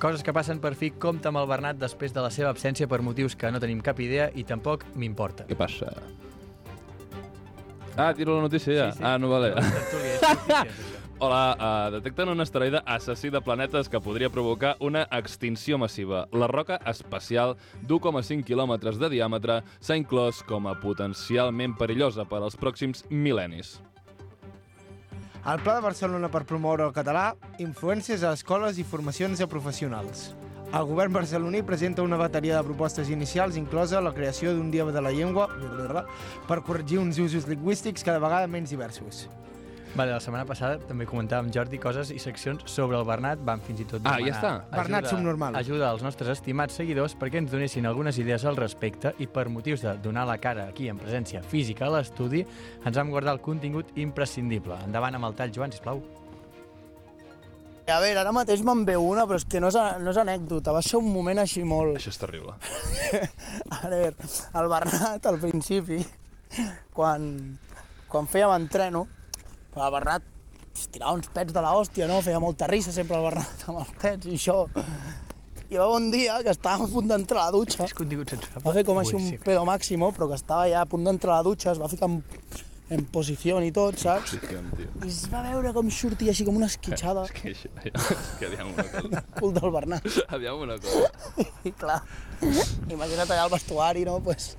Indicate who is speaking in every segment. Speaker 1: Coses que passen per fi compta amb el Bernat després de la seva absència per motius que no tenim cap idea i tampoc m'importa.
Speaker 2: Què passa? Ah, tiro la notícia ja.
Speaker 1: Sí, sí.
Speaker 2: Ah, no vale.
Speaker 1: La tertúlia és notícies, això.
Speaker 2: Hola, uh, detecten un asteroide assassí de planetes que podria provocar una extinció massiva. La roca espacial d'1,5 quilòmetres de diàmetre s'ha inclòs com a potencialment perillosa per als pròxims mil·lennis.
Speaker 3: El Pla de Barcelona per promoure el català, influències a escoles i formacions a professionals. El govern barceloní presenta una bateria de propostes inicials, inclosa la creació d'un dia de la llengua per corregir uns usos lingüístics cada vegada menys diversos.
Speaker 1: Vale, la setmana passada també comentàvem, Jordi, coses i seccions sobre el Bernat. Vam fins i tot
Speaker 2: Ah,
Speaker 1: demanar...
Speaker 2: ja està.
Speaker 3: Bernat subnormal.
Speaker 1: Ajuda als nostres estimats seguidors perquè ens donessin algunes idees al respecte i per motius de donar la cara aquí en presència física a l'estudi, ens vam guardar el contingut imprescindible. Endavant amb el tall, Joan, sisplau.
Speaker 4: A veure, ara mateix me'n veu una, però és que no és, no és anècdota, va ser un moment així molt...
Speaker 2: Això és terrible.
Speaker 4: A veure, el Bernat al principi, quan, quan fèiem entreno, el Bernat es tirava uns pets de la hòstia, no? Feia molta risa sempre el Bernat amb els pets i això. I va un dia que estava a punt d'entrar a la dutxa.
Speaker 1: És contingut sense...
Speaker 4: Va fer com així un pedo màximo, però que estava ja a punt d'entrar a la dutxa, es va ficar en, en posició i tot, saps? I es va veure com sortia així com una esquitxada
Speaker 2: És que, això, Eh, és que aviam una cosa.
Speaker 4: cul del Bernat.
Speaker 2: Aviam una cosa.
Speaker 4: I clar, imagina't allà al vestuari, no? Pues,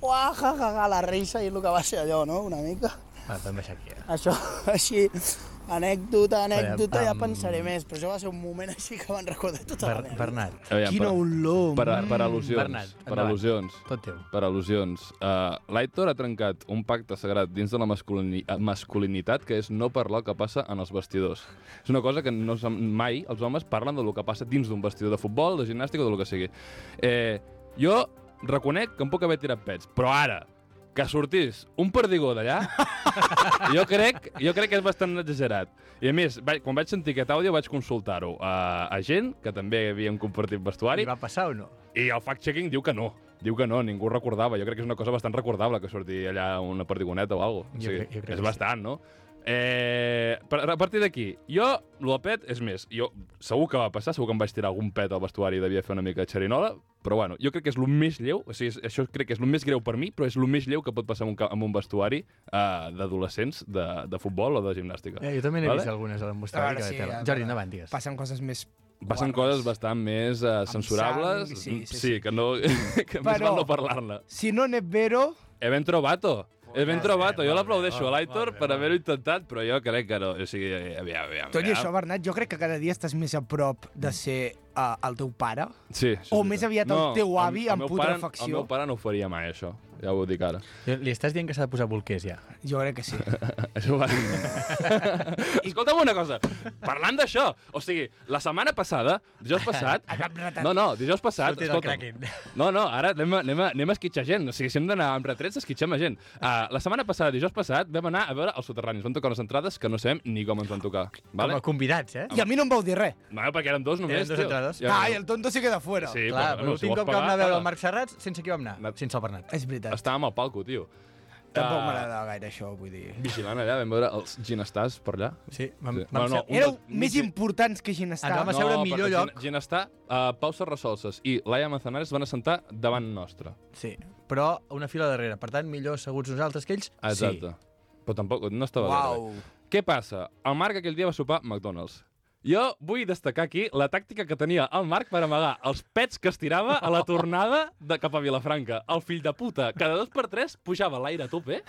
Speaker 4: uah, ja, ja, ja, la risa i el que va ser allò, no? Una mica.
Speaker 1: Va, podem baixar aquí. eh?
Speaker 4: Això, així, anècdota, anècdota, ja
Speaker 1: am-
Speaker 4: pensaré més, però això va ser un moment així que me'n recordaré tota
Speaker 1: Ber
Speaker 4: la meva.
Speaker 1: Bernat,
Speaker 2: Aviam,
Speaker 3: Quina olor! mm.
Speaker 2: per, per, per al·lusions.
Speaker 1: Bernat,
Speaker 2: per
Speaker 1: endavant.
Speaker 2: al·lusions.
Speaker 1: tot teu.
Speaker 2: Per al·lusions. Uh, L'Aitor ha trencat un pacte sagrat dins de la masculini eh, masculinitat que és no parlar el que passa en els vestidors. És una cosa que no som, mai els homes parlen del que passa dins d'un vestidor de futbol, de gimnàstica o del que sigui. Eh, jo reconec que em puc haver tirat pets, però ara que sortís un perdigó d'allà, jo crec, jo crec que és bastant exagerat. I a més, vaig, quan vaig sentir aquest àudio vaig consultar-ho a, a gent que també havíem compartit vestuari
Speaker 1: I va passar o no?
Speaker 2: i el fact-checking diu que no. Diu que no, ningú recordava. Jo crec que és una cosa bastant recordable que surti allà una perdigoneta o alguna cosa.
Speaker 1: Jo crec- jo crec
Speaker 2: és
Speaker 1: que sí.
Speaker 2: bastant, no? Eh, per- a partir d'aquí, jo, el pet, és més, jo segur que va passar, segur que em vaig tirar algun pet al vestuari i devia fer una mica de xerinola, però bueno, jo crec que és el més lleu, o sigui, és, això crec que és el més greu per mi, però és el més lleu que pot passar en un, ca- en un vestuari eh, d'adolescents de, de futbol o de gimnàstica.
Speaker 1: Eh, jo també n'he vale?
Speaker 2: Vale.
Speaker 1: vist algunes a
Speaker 3: A
Speaker 1: demostrar.
Speaker 3: veure,
Speaker 1: que
Speaker 3: sí,
Speaker 1: sí,
Speaker 3: a
Speaker 1: Jordi,
Speaker 3: veure.
Speaker 1: endavant, digues.
Speaker 3: Passen coses més...
Speaker 2: Passen coses bastant més eh, censurables,
Speaker 3: sang, sí, sí,
Speaker 2: sí, que no... que més
Speaker 3: Però-
Speaker 2: val no parlar-ne.
Speaker 3: Si no n'és vero,
Speaker 2: He ben trobato. He ben
Speaker 1: Molt bé,
Speaker 2: trobato.
Speaker 1: eh, molt
Speaker 2: Jo
Speaker 1: bé,
Speaker 2: l'aplaudeixo a
Speaker 1: molt bé,
Speaker 2: l'Aitor
Speaker 1: molt bé,
Speaker 2: per
Speaker 1: molt
Speaker 2: haver-ho intentat, però jo crec que no. O sigui, eh, aviam, aviam.
Speaker 3: tot i
Speaker 2: aviam.
Speaker 3: això, Bernat, jo crec que cada dia estàs més a prop de ser uh, el teu pare.
Speaker 2: Sí, sí,
Speaker 3: o
Speaker 2: sí,
Speaker 3: més
Speaker 2: sí.
Speaker 3: aviat el teu avi
Speaker 2: el
Speaker 3: amb
Speaker 2: meu pare-
Speaker 3: putrefacció.
Speaker 2: El meu pare no ho faria mai, això. Ja ho dic ara.
Speaker 1: Jo- Li estàs dient que s'ha de posar bolquers, ja.
Speaker 3: Jo crec que sí.
Speaker 2: Això va... Escolta'm una cosa, parlant d'això, o sigui, la setmana passada, dijous passat... No, no, dijous passat,
Speaker 1: Sortir del Kraken.
Speaker 2: escolta'm... No, no, ara anem a, anem a, anem a esquitxar gent, o sigui, si hem d'anar amb retrets, esquitxem a gent. Uh, la setmana passada, dijous passat, vam anar a veure els soterranis, van tocar les entrades que no sabem ni com ens van tocar,
Speaker 1: Vale.
Speaker 2: vale?
Speaker 1: Com a convidats, eh?
Speaker 3: I a mi no em vau dir res.
Speaker 2: No, perquè eren dos només,
Speaker 1: Eren dos
Speaker 2: tio.
Speaker 1: entrades.
Speaker 2: Ja,
Speaker 3: Ai, el tonto sí queda fuera.
Speaker 2: Sí,
Speaker 1: Clar,
Speaker 2: però,
Speaker 1: però l'últim cop que vam anar a veure el Marc Serrats, sense qui vam anar?
Speaker 2: Anat-
Speaker 1: Sense el Bernat.
Speaker 3: És veritat.
Speaker 2: Estàvem al palco, tio.
Speaker 3: Tampoc
Speaker 2: Ah,
Speaker 3: m'agrada gaire això, vull dir.
Speaker 2: Vigilant allà, vam veure els ginestars per allà.
Speaker 1: Sí, vam,
Speaker 2: Sí.
Speaker 1: sí. vam
Speaker 2: No, no,
Speaker 1: ser...
Speaker 2: un
Speaker 3: Éreu
Speaker 2: dels-
Speaker 3: més importants que Ginestar.
Speaker 1: Ens vam asseure al millor lloc.
Speaker 2: Gin, ginestar, uh, Pau Serrasolses i Laia Manzanares van assentar davant nostre.
Speaker 1: Sí, però una fila darrere. Per tant, millor asseguts nosaltres que
Speaker 2: Ah,
Speaker 1: ells.
Speaker 2: Exacte. Sí. Però tampoc, no estava bé. eh?
Speaker 3: Uau.
Speaker 2: Què passa? El Marc aquell dia va sopar a McDonald's. Jo vull destacar aquí la tàctica que tenia el Marc per amagar els pets que es tirava a la tornada de cap a Vilafranca. El fill de puta, cada dos per tres pujava a l'aire a tope.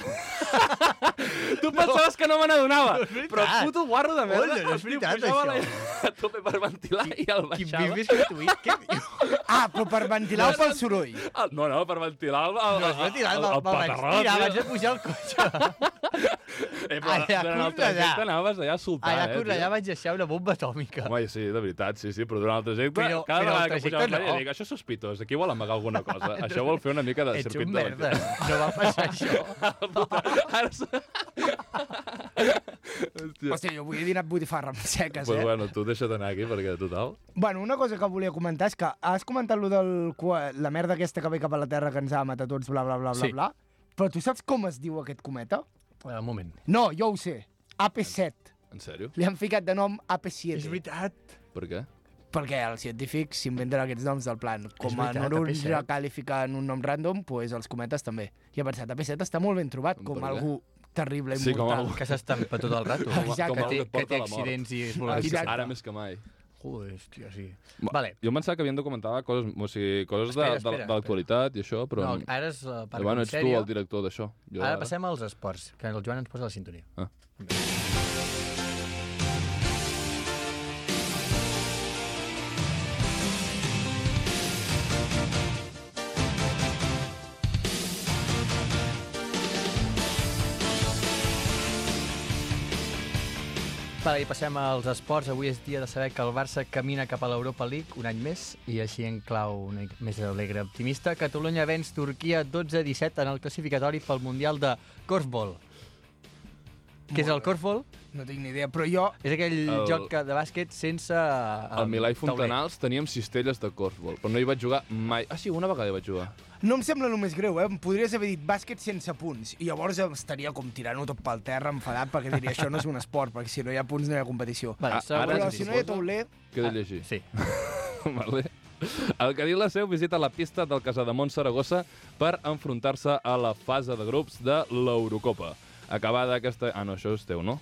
Speaker 2: tu pensaves que no me n'adonava, però el puto guarro de merda
Speaker 1: Olla, no és
Speaker 2: el tio
Speaker 1: veritat,
Speaker 2: pujava a
Speaker 1: això.
Speaker 2: l'aire a tope per ventilar i el
Speaker 1: Sí. Quin
Speaker 2: baixava.
Speaker 1: vivís que tu Què dius?
Speaker 3: Ah, però per ventilar o pel soroll?
Speaker 2: El, no, no, per ventilar el, el,
Speaker 1: No, es va tirar,
Speaker 2: el,
Speaker 1: me'l
Speaker 2: el,
Speaker 1: me'l vaig
Speaker 2: patarrot,
Speaker 1: tirar
Speaker 2: tio.
Speaker 1: abans de pujar al cotxe.
Speaker 2: Eh, però
Speaker 1: Allà,
Speaker 2: durant el
Speaker 1: curt allà.
Speaker 2: trajecte anaves allà a soltar,
Speaker 1: Allà a
Speaker 2: eh, tio.
Speaker 1: Cornellà vaig deixar una bomba atòmica.
Speaker 2: Home, sí, de veritat, sí, sí, però durant el trajecte,
Speaker 1: Però-
Speaker 2: cada
Speaker 1: però el
Speaker 2: vegada que
Speaker 1: trajecte
Speaker 2: pujava no.
Speaker 1: no.
Speaker 2: dic, això és sospitós, aquí vol amagar alguna cosa, això vol fer una mica de
Speaker 1: Ets
Speaker 2: circuit
Speaker 1: un
Speaker 2: de
Speaker 1: merda. No va passar això.
Speaker 2: Puta, ara... s- Hòstia.
Speaker 3: Hòstia, jo avui he dinat botifarra amb seques,
Speaker 2: Pues
Speaker 3: eh?
Speaker 2: bueno, tu deixa't anar aquí, perquè total...
Speaker 3: Bueno, una cosa que volia comentar és que has comentat lo del cua- la merda aquesta que ve cap a la Terra que ens ha matat a tots, bla, bla, bla, bla,
Speaker 1: Sí.
Speaker 3: bla. Però tu saps com es diu aquest cometa?
Speaker 1: Bueno, un moment.
Speaker 3: No, jo ho sé. AP7.
Speaker 2: En sèrio?
Speaker 3: Li han ficat de nom AP7.
Speaker 1: És veritat.
Speaker 2: Per què?
Speaker 5: perquè els científics s'inventen aquests noms del plan. Com
Speaker 1: veritat,
Speaker 5: en Oruja
Speaker 1: AP7.
Speaker 5: califiquen un nom random, doncs els cometes també. I he pensat, AP7 està molt ben trobat, com
Speaker 2: Perquè-
Speaker 5: algú terrible,
Speaker 2: Sí, com
Speaker 5: immortal.
Speaker 2: algú-
Speaker 1: Que s'estampa tot el rato.
Speaker 2: Com,
Speaker 5: Exacte.
Speaker 2: com
Speaker 1: Que
Speaker 2: el
Speaker 1: té,
Speaker 2: que et
Speaker 1: que
Speaker 2: porta
Speaker 1: té
Speaker 2: a la mort. Ah,
Speaker 1: accidents i és
Speaker 2: És que
Speaker 1: volatilitat.
Speaker 5: Exacte.
Speaker 2: Ara més que mai.
Speaker 1: Joder, hòstia, sí.
Speaker 2: Ma-
Speaker 1: Vale.
Speaker 2: Jo em pensava que havien de comentar coses, o sigui, coses
Speaker 1: Espera,
Speaker 2: de, de,
Speaker 1: espera,
Speaker 2: de l'actualitat i això, però...
Speaker 1: No, eh,
Speaker 2: No,
Speaker 1: ara és la part
Speaker 2: bueno,
Speaker 1: bueno,
Speaker 2: doncs, ets tu eh?
Speaker 1: sèria.
Speaker 2: el director d'això. Jo
Speaker 1: Ara passem als esports, que el Joan ens posa la sintonia.
Speaker 2: Ah.
Speaker 1: Vale, i passem als esports. Avui és dia de saber que el Barça camina cap a l'Europa League un any més i així en clau una mica més alegre optimista. Catalunya venç Turquia 12-17 en el classificatori pel Mundial de Korfball. Què és el Korfball?
Speaker 5: No tinc ni idea, però jo...
Speaker 1: És aquell el...
Speaker 2: El-
Speaker 1: joc que- de bàsquet sense... eh,
Speaker 2: Al Milà i
Speaker 1: tauler.
Speaker 2: Fontanals teníem cistelles de corfball, però no hi vaig jugar mai. Ah, sí, una vegada hi vaig jugar.
Speaker 5: No em sembla el més greu, eh? Em podries haver dit bàsquet sense punts i llavors estaria com tirant-ho tot pel terra, enfadat, perquè diria això no és un esport, perquè si no hi ha punts no hi ha competició.
Speaker 1: Vale,
Speaker 2: Ah,
Speaker 1: següent
Speaker 2: ara
Speaker 5: Però
Speaker 2: sí.
Speaker 5: si
Speaker 1: notícia.
Speaker 5: no hi ha tauler,
Speaker 2: Què he de
Speaker 1: Ah,
Speaker 2: llegir?
Speaker 1: Sí.
Speaker 2: vale. El Cadí Liceu visita la pista del Casademont Saragossa per enfrontar-se a la fase de grups de l'Eurocopa. Acabada aquesta... Ah, no, això és teu, no?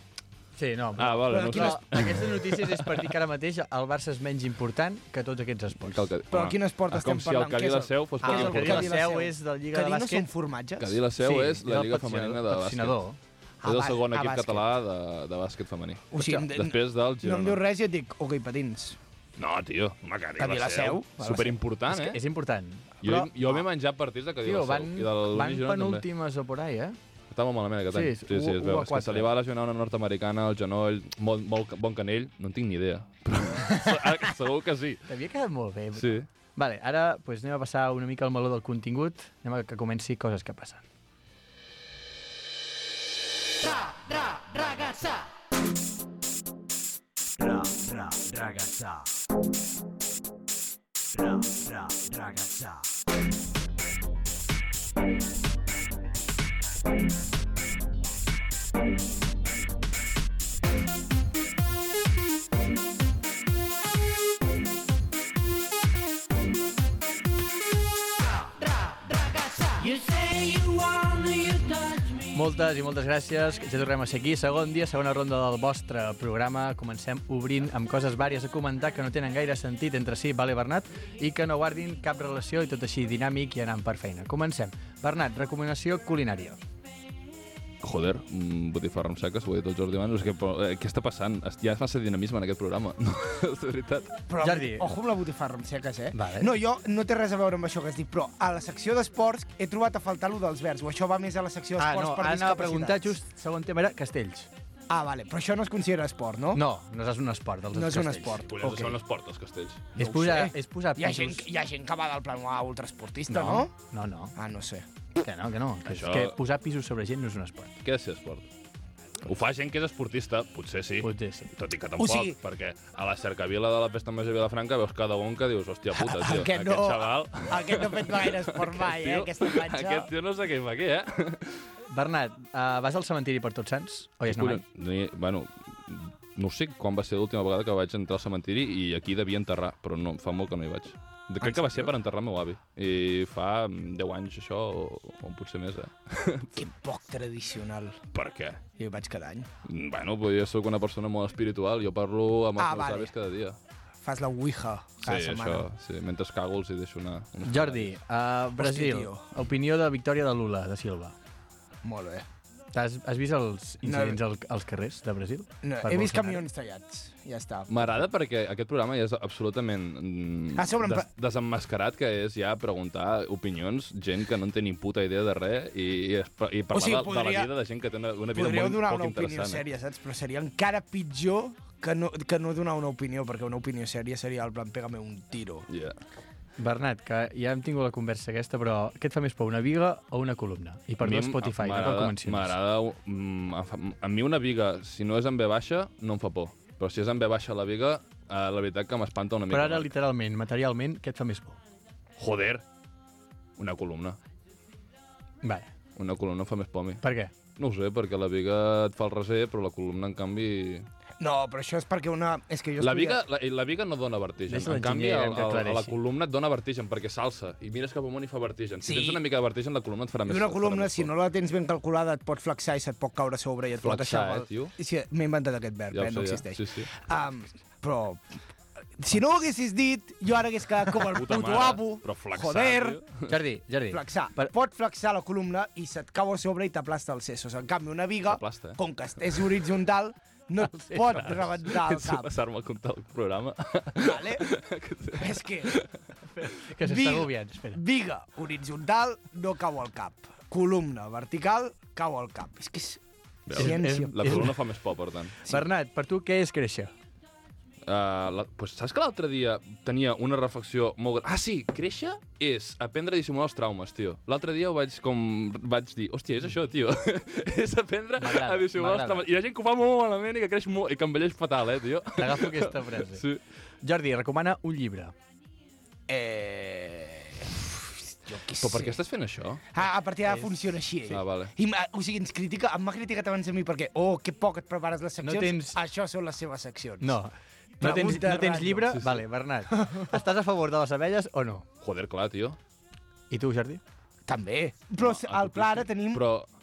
Speaker 1: Sí, no.
Speaker 2: Ah, vale, no
Speaker 1: Però
Speaker 2: sé.
Speaker 1: aquestes notícies és per dir que ara mateix el Barça és menys important que tots aquests esports.
Speaker 2: Que el Cadí-
Speaker 5: Però
Speaker 2: home,
Speaker 5: quin esport
Speaker 2: és
Speaker 5: estem
Speaker 2: com si
Speaker 5: parlant?
Speaker 2: el Cadí
Speaker 5: Què és el-
Speaker 2: Liceu fos
Speaker 1: Ah,
Speaker 2: poc
Speaker 1: el Cadí
Speaker 2: important.
Speaker 1: Liceu és de la Lliga de
Speaker 5: que no
Speaker 1: bàsquet.
Speaker 5: són formatges?
Speaker 2: Cadí Liceu és la Lliga Femenina de bàsquet.
Speaker 1: patrocinador.
Speaker 2: És el
Speaker 5: bàs-
Speaker 2: segon
Speaker 5: a
Speaker 2: equip
Speaker 5: Ah, bàsquet.
Speaker 2: català de, de bàsquet femení.
Speaker 5: O sigui, em-
Speaker 2: Després del
Speaker 5: No em
Speaker 2: Girona.
Speaker 5: diu res i et dic, ok, patins.
Speaker 2: No, tio, home, Cadí
Speaker 5: Cadí Liceu.
Speaker 2: Liceu. Superimportant,
Speaker 1: És,
Speaker 2: eh?
Speaker 1: és important.
Speaker 2: Jo,
Speaker 1: Però-
Speaker 2: jo m'he menjat partits de Cadí
Speaker 1: Tio,
Speaker 2: Liceu.
Speaker 1: van,
Speaker 2: I del
Speaker 1: van
Speaker 2: Girona també.
Speaker 1: penúltimes o por ahí, eh?
Speaker 2: Està molt malament aquest
Speaker 1: Sí,
Speaker 2: any.
Speaker 1: és
Speaker 2: Sí, sí,
Speaker 1: u-
Speaker 2: es
Speaker 1: u
Speaker 2: veu.
Speaker 1: a
Speaker 2: És que se
Speaker 1: quatre.
Speaker 2: li va lesionar una nord-americana al genoll, molt, molt, bon canell, no en tinc ni idea. Però se- segur que sí.
Speaker 1: T'havia quedat molt bé.
Speaker 2: Sí.
Speaker 1: Vale, ara pues, anem a passar una mica al meló del contingut. Anem a que comenci coses que passen.
Speaker 6: Ra, ra, ragazza. Ra, ra, ragazza.
Speaker 1: Moltes i moltes gràcies. Ja tornem a ser aquí. Segon dia, segona ronda del vostre programa. Comencem obrint amb coses vàries a comentar que no tenen gaire sentit entre si, vale, Bernat, i que no guardin cap relació i tot així dinàmic i anant per feina. Comencem. Bernat, recomanació culinària.
Speaker 2: Joder, mm, botifarra amb seques, ho he dit el Jordi Manu. És que, però, eh, què està passant? Es- Ja es massa dinamisme en aquest programa. No, és de veritat.
Speaker 5: Però,
Speaker 1: Jordi.
Speaker 5: Ojo amb la botifarra amb seques, eh?
Speaker 1: Vale.
Speaker 5: No, jo no té res a veure amb això que has dit, però a la secció d'esports he trobat a faltar lo dels verds, o això va més a la secció
Speaker 1: Ah,
Speaker 5: d'esports
Speaker 1: no,
Speaker 5: per
Speaker 1: ara anava a preguntar
Speaker 5: discapacitats.
Speaker 1: just, segon tema era castells.
Speaker 5: Ah, vale, però això no es considera esport, no?
Speaker 1: No, no és un esport. dels
Speaker 5: No és un
Speaker 1: castells.
Speaker 5: esport.
Speaker 2: Pollets okay. són les portes, castells.
Speaker 1: És
Speaker 5: No ho
Speaker 1: posar,
Speaker 5: sé.
Speaker 1: és posar
Speaker 5: Hi ha, gent,
Speaker 1: pisos...
Speaker 5: hi ha gent que va del plan a ultraesportista,
Speaker 1: No,
Speaker 5: no.
Speaker 1: no, no,
Speaker 5: Ah, no sé.
Speaker 1: que no, que no. Que, és
Speaker 2: Això-
Speaker 1: que posar pisos sobre gent no és un esport.
Speaker 2: Què és ser esport? Ho fa gent que és esportista, potser sí.
Speaker 1: Potser sí.
Speaker 2: Tot i que tampoc,
Speaker 5: sigui-
Speaker 2: perquè a la cercavila de la Festa Major de Vilafranca veus cada un que dius, hòstia puta, tio,
Speaker 5: Aquest
Speaker 2: aquest,
Speaker 5: no-
Speaker 2: xaval...
Speaker 5: Aquest no ha fet gaire esport mai, eh?
Speaker 2: tio,
Speaker 5: Aquesta platja...
Speaker 2: Aquest tio no sé què fa aquí, eh?
Speaker 1: Bernat, uh, vas al cementiri per tots sants? O ja és no mai?
Speaker 2: no hi, bueno, no sé quan va ser l'última vegada que vaig entrar al cementiri i aquí devia enterrar, però no, fa molt que no hi vaig. De, crec que va ser per enterrar el meu avi. I fa mm, 10 anys, això, o, o potser més, eh?
Speaker 5: Que poc tradicional.
Speaker 2: Per què?
Speaker 5: Jo hi vaig cada any.
Speaker 2: Mm, Bueno, però jo sóc una persona molt espiritual, jo parlo amb els
Speaker 5: Ah,
Speaker 2: meus
Speaker 5: vale.
Speaker 2: avis cada dia.
Speaker 5: Fas la ouija cada
Speaker 2: sí,
Speaker 5: setmana.
Speaker 2: això, sí. Mentre cago els hi deixo anar. unes
Speaker 1: Jordi, uh, Brasil,
Speaker 5: tio.
Speaker 1: opinió de victòria de Lula, de Silva.
Speaker 5: Molt bé.
Speaker 1: Has, has vist els incidents al, als carrers de Brasil?
Speaker 5: No,
Speaker 1: Per
Speaker 5: he vist
Speaker 1: Bolsonaro?
Speaker 5: camions tallats. Ja està.
Speaker 2: M'agrada perquè aquest programa ja és absolutament mm,
Speaker 5: A sobre em
Speaker 2: des desenmascarat, que és ja preguntar opinions, gent que no en té ni puta idea de res, i, i, es- i parlar
Speaker 5: O sigui,
Speaker 2: de- de,
Speaker 5: podria-
Speaker 2: la vida de gent que té una, una vida
Speaker 5: Podríeu
Speaker 2: molt,
Speaker 5: donar
Speaker 2: poc
Speaker 5: una opinió
Speaker 2: interessant. eh?
Speaker 5: sèria, saps? Però seria encara pitjor que no, que no donar una opinió, perquè una opinió sèria seria el plan pega-me un tiro.
Speaker 2: Yeah.
Speaker 1: Bernat, que ja hem tingut la conversa aquesta, però què et fa més por, una viga o una columna? I per mi Spotify, no cal que ho mencionis.
Speaker 2: M'agrada... mm, em fa- A mi una viga, si no és en B baixa, no em fa por. Però si és en B baixa la viga, eh, la veritat que m'espanta una mica.
Speaker 1: Però ara, literalment, materialment, què et fa més por?
Speaker 2: Joder! Una columna.
Speaker 1: Vale,
Speaker 2: Una columna em fa més por a mi.
Speaker 1: per què?
Speaker 2: No ho sé, perquè la viga et fa el reser, però la columna, en canvi...
Speaker 5: No, però això és perquè una... És que jo
Speaker 2: La viga,
Speaker 5: estudia-
Speaker 2: la, eh, la viga no dona vertigen.
Speaker 1: Ves
Speaker 2: En canvi,
Speaker 1: l'enginyer
Speaker 2: el,
Speaker 1: que
Speaker 2: el, a la
Speaker 1: aclareixi.
Speaker 2: columna et dona vertigen, perquè s'alça. I mires cap amunt i fa vertigen. Si
Speaker 5: Sí.
Speaker 2: tens una mica de vertigen, la columna et farà
Speaker 5: I
Speaker 2: més...
Speaker 5: una
Speaker 2: et farà
Speaker 5: columna,
Speaker 2: més
Speaker 5: si
Speaker 2: fort.
Speaker 5: no la tens ben calculada, et pot flexar i se't pot caure a sobre i et pot
Speaker 2: Flexar,
Speaker 5: deixar...
Speaker 2: eh, tio?
Speaker 5: I si- M'he inventat aquest verb,
Speaker 2: Ja ho
Speaker 5: eh? No
Speaker 2: sé, ja.
Speaker 5: existeix.
Speaker 2: Sí, sí.
Speaker 5: Um, però... Si no ho haguessis dit, jo ara hagués quedat com el
Speaker 2: Puta
Speaker 5: puto
Speaker 2: mare,
Speaker 5: amo.
Speaker 2: però flexar,
Speaker 5: Joder.
Speaker 2: tio.
Speaker 1: Jordi, Jordi.
Speaker 5: Flexar. Per...
Speaker 1: Per...
Speaker 5: Pot flexar la columna i se't cau a sobre i t'aplasta els cessos. En canvi, una viga,
Speaker 2: T'aplasta, eh?
Speaker 5: com que és horitzontal, no et pot rebentar el
Speaker 2: Penso
Speaker 5: cap.
Speaker 2: passar-me a comptar el programa.
Speaker 5: Vale? és que
Speaker 1: Que s'està
Speaker 5: Viga.
Speaker 1: agobiant, espera.
Speaker 5: viga horitzontal no cau al cap. Columna vertical cau al cap. És que és
Speaker 2: Veus?
Speaker 5: ciència.
Speaker 1: És-
Speaker 2: La columna fa més por, per tant.
Speaker 1: Sí. Bernat, per tu què és créixer?
Speaker 2: Uh, la, pues, saps que l'altre dia tenia una reflexió molt gran? Ah, sí, créixer és aprendre a dissimular els traumes, tio. L'altre dia ho vaig, com, vaig dir, hòstia, és això, tio. és aprendre
Speaker 1: M'agrada,
Speaker 2: a dissimular els
Speaker 1: m'agrada.
Speaker 2: traumes. I la gent que ho fa molt malament i que creix molt, i que envelleix fatal, eh, tio.
Speaker 1: T'agafo aquesta frase.
Speaker 2: Sí.
Speaker 1: Jordi, recomana un llibre.
Speaker 5: Eh... Jo què
Speaker 2: Però per
Speaker 5: sé.
Speaker 2: què estàs fent això?
Speaker 5: Ah, a partir d'ara funciona així, eh?
Speaker 2: Ah, vale.
Speaker 5: I, m'ha- o sigui, ens critica, em m'ha criticat abans a mi perquè, oh, que poc et prepares les seccions,
Speaker 1: tens-
Speaker 5: això són les seves seccions.
Speaker 1: No. No tens,
Speaker 5: Pregunta
Speaker 1: no tens
Speaker 5: ràdio.
Speaker 1: llibre?
Speaker 2: Sí, sí.
Speaker 1: Vale, Bernat. Estàs a favor de les abelles o no?
Speaker 2: Joder, clar, tio.
Speaker 1: I tu, Jordi?
Speaker 5: També. Però no,
Speaker 2: Ah,
Speaker 5: al pla ara tenim... Però...
Speaker 2: Però...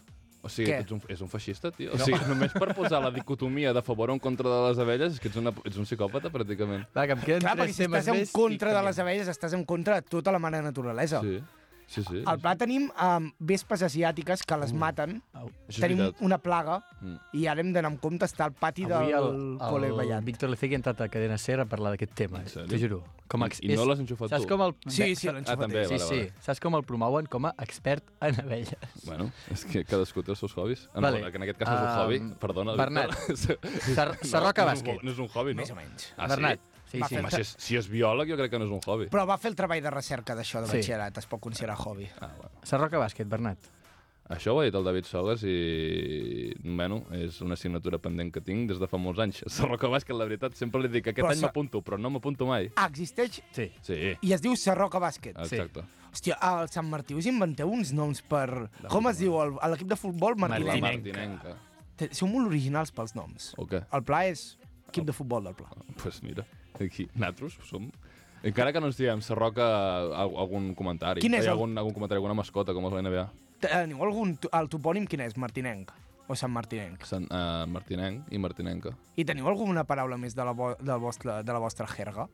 Speaker 2: O sigui,
Speaker 5: Què?
Speaker 2: ets un, és un feixista, tio. O sigui, només per posar la dicotomia de favor o en contra de les abelles és que ets, una, ets un psicòpata, pràcticament.
Speaker 1: Va, que em queden
Speaker 5: Clar, perquè
Speaker 1: tres
Speaker 5: si
Speaker 1: temes
Speaker 5: estàs en
Speaker 1: més...
Speaker 5: contra de les abelles, estàs en contra de tota la mare naturalesa.
Speaker 2: Sí, sí, sí.
Speaker 5: Al pla tenim um, vespes asiàtiques que les maten,
Speaker 2: Això és
Speaker 5: tenim
Speaker 2: veritat.
Speaker 5: una plaga,
Speaker 2: Mm.
Speaker 5: i ara hem d'anar amb compte, està al pati
Speaker 1: Avui
Speaker 5: del
Speaker 1: el,
Speaker 5: col·le
Speaker 1: el,
Speaker 5: ballant.
Speaker 1: Víctor Lecegui ha entrat a Cadena Ser a parlar d'aquest tema, eh,
Speaker 2: En sèrio?
Speaker 1: t'ho juro. Com a
Speaker 2: I-
Speaker 1: ex-
Speaker 2: i no
Speaker 1: és-
Speaker 2: l'has enxufat
Speaker 1: saps
Speaker 2: tu?
Speaker 1: Com el,
Speaker 5: Sí, sí, l'han
Speaker 2: Ah, també,
Speaker 1: Sí,
Speaker 2: vale,
Speaker 1: sí.
Speaker 2: vale.
Speaker 1: Saps com el promouen com a expert en abelles.
Speaker 2: Bueno, és que cadascú té els seus hobbies. En,
Speaker 1: Vale.
Speaker 2: vale. en aquest cas no és un
Speaker 1: Ah,
Speaker 2: hobby. Perdona, Víctor.
Speaker 1: Sar- Sarroca
Speaker 2: no,
Speaker 1: bàsquet.
Speaker 2: No és un hobby, no?
Speaker 5: Més o menys.
Speaker 2: Ah,
Speaker 1: Bernat. Sí,
Speaker 2: sí?
Speaker 1: sí.
Speaker 2: Home, si és, si és biòleg, jo crec que no és un hobby.
Speaker 5: Però va fer el treball de recerca d'això de
Speaker 1: Sí.
Speaker 5: batxillerat, es pot considerar hobby.
Speaker 2: Ah, bueno.
Speaker 1: Sarroca Bàsquet, Bernat.
Speaker 2: Això ho ha dit el David Sogas i, bueno, és una assignatura pendent que tinc des de fa molts anys. Sarroca Bàsquet, la veritat, sempre li dic que aquest
Speaker 5: Però
Speaker 2: any
Speaker 5: Sa-
Speaker 2: m'apunto, però no m'apunto mai.
Speaker 5: Ah, existeix
Speaker 1: Sí.
Speaker 2: Sí,
Speaker 5: i es diu Sarroca Bàsquet.
Speaker 2: exacte.
Speaker 5: Hòstia, al Sant Martí us inventeu uns noms per... Com es diu? el- a l'equip de futbol
Speaker 2: La
Speaker 5: martinenc.
Speaker 2: Martinenca.
Speaker 5: Te- Sou molt originals pels noms.
Speaker 2: O què?
Speaker 5: El Pla és equip de futbol del Pla.
Speaker 2: Doncs pues mira, aquí, nosaltres som... Encara que no ens diguem Sarroca, al- algun comentari.
Speaker 5: Quin és
Speaker 2: Ai,
Speaker 5: el-
Speaker 2: algun, algun comentari, alguna mascota, com és la NBA.
Speaker 5: eh, Teniu algun... to- El topònim quin és? Martinenc o Sant Martinenc.
Speaker 2: Sant, uh, Martinenc i Martinenca.
Speaker 5: I teniu alguna paraula més de la, vo del vostre, de la vostra jerga?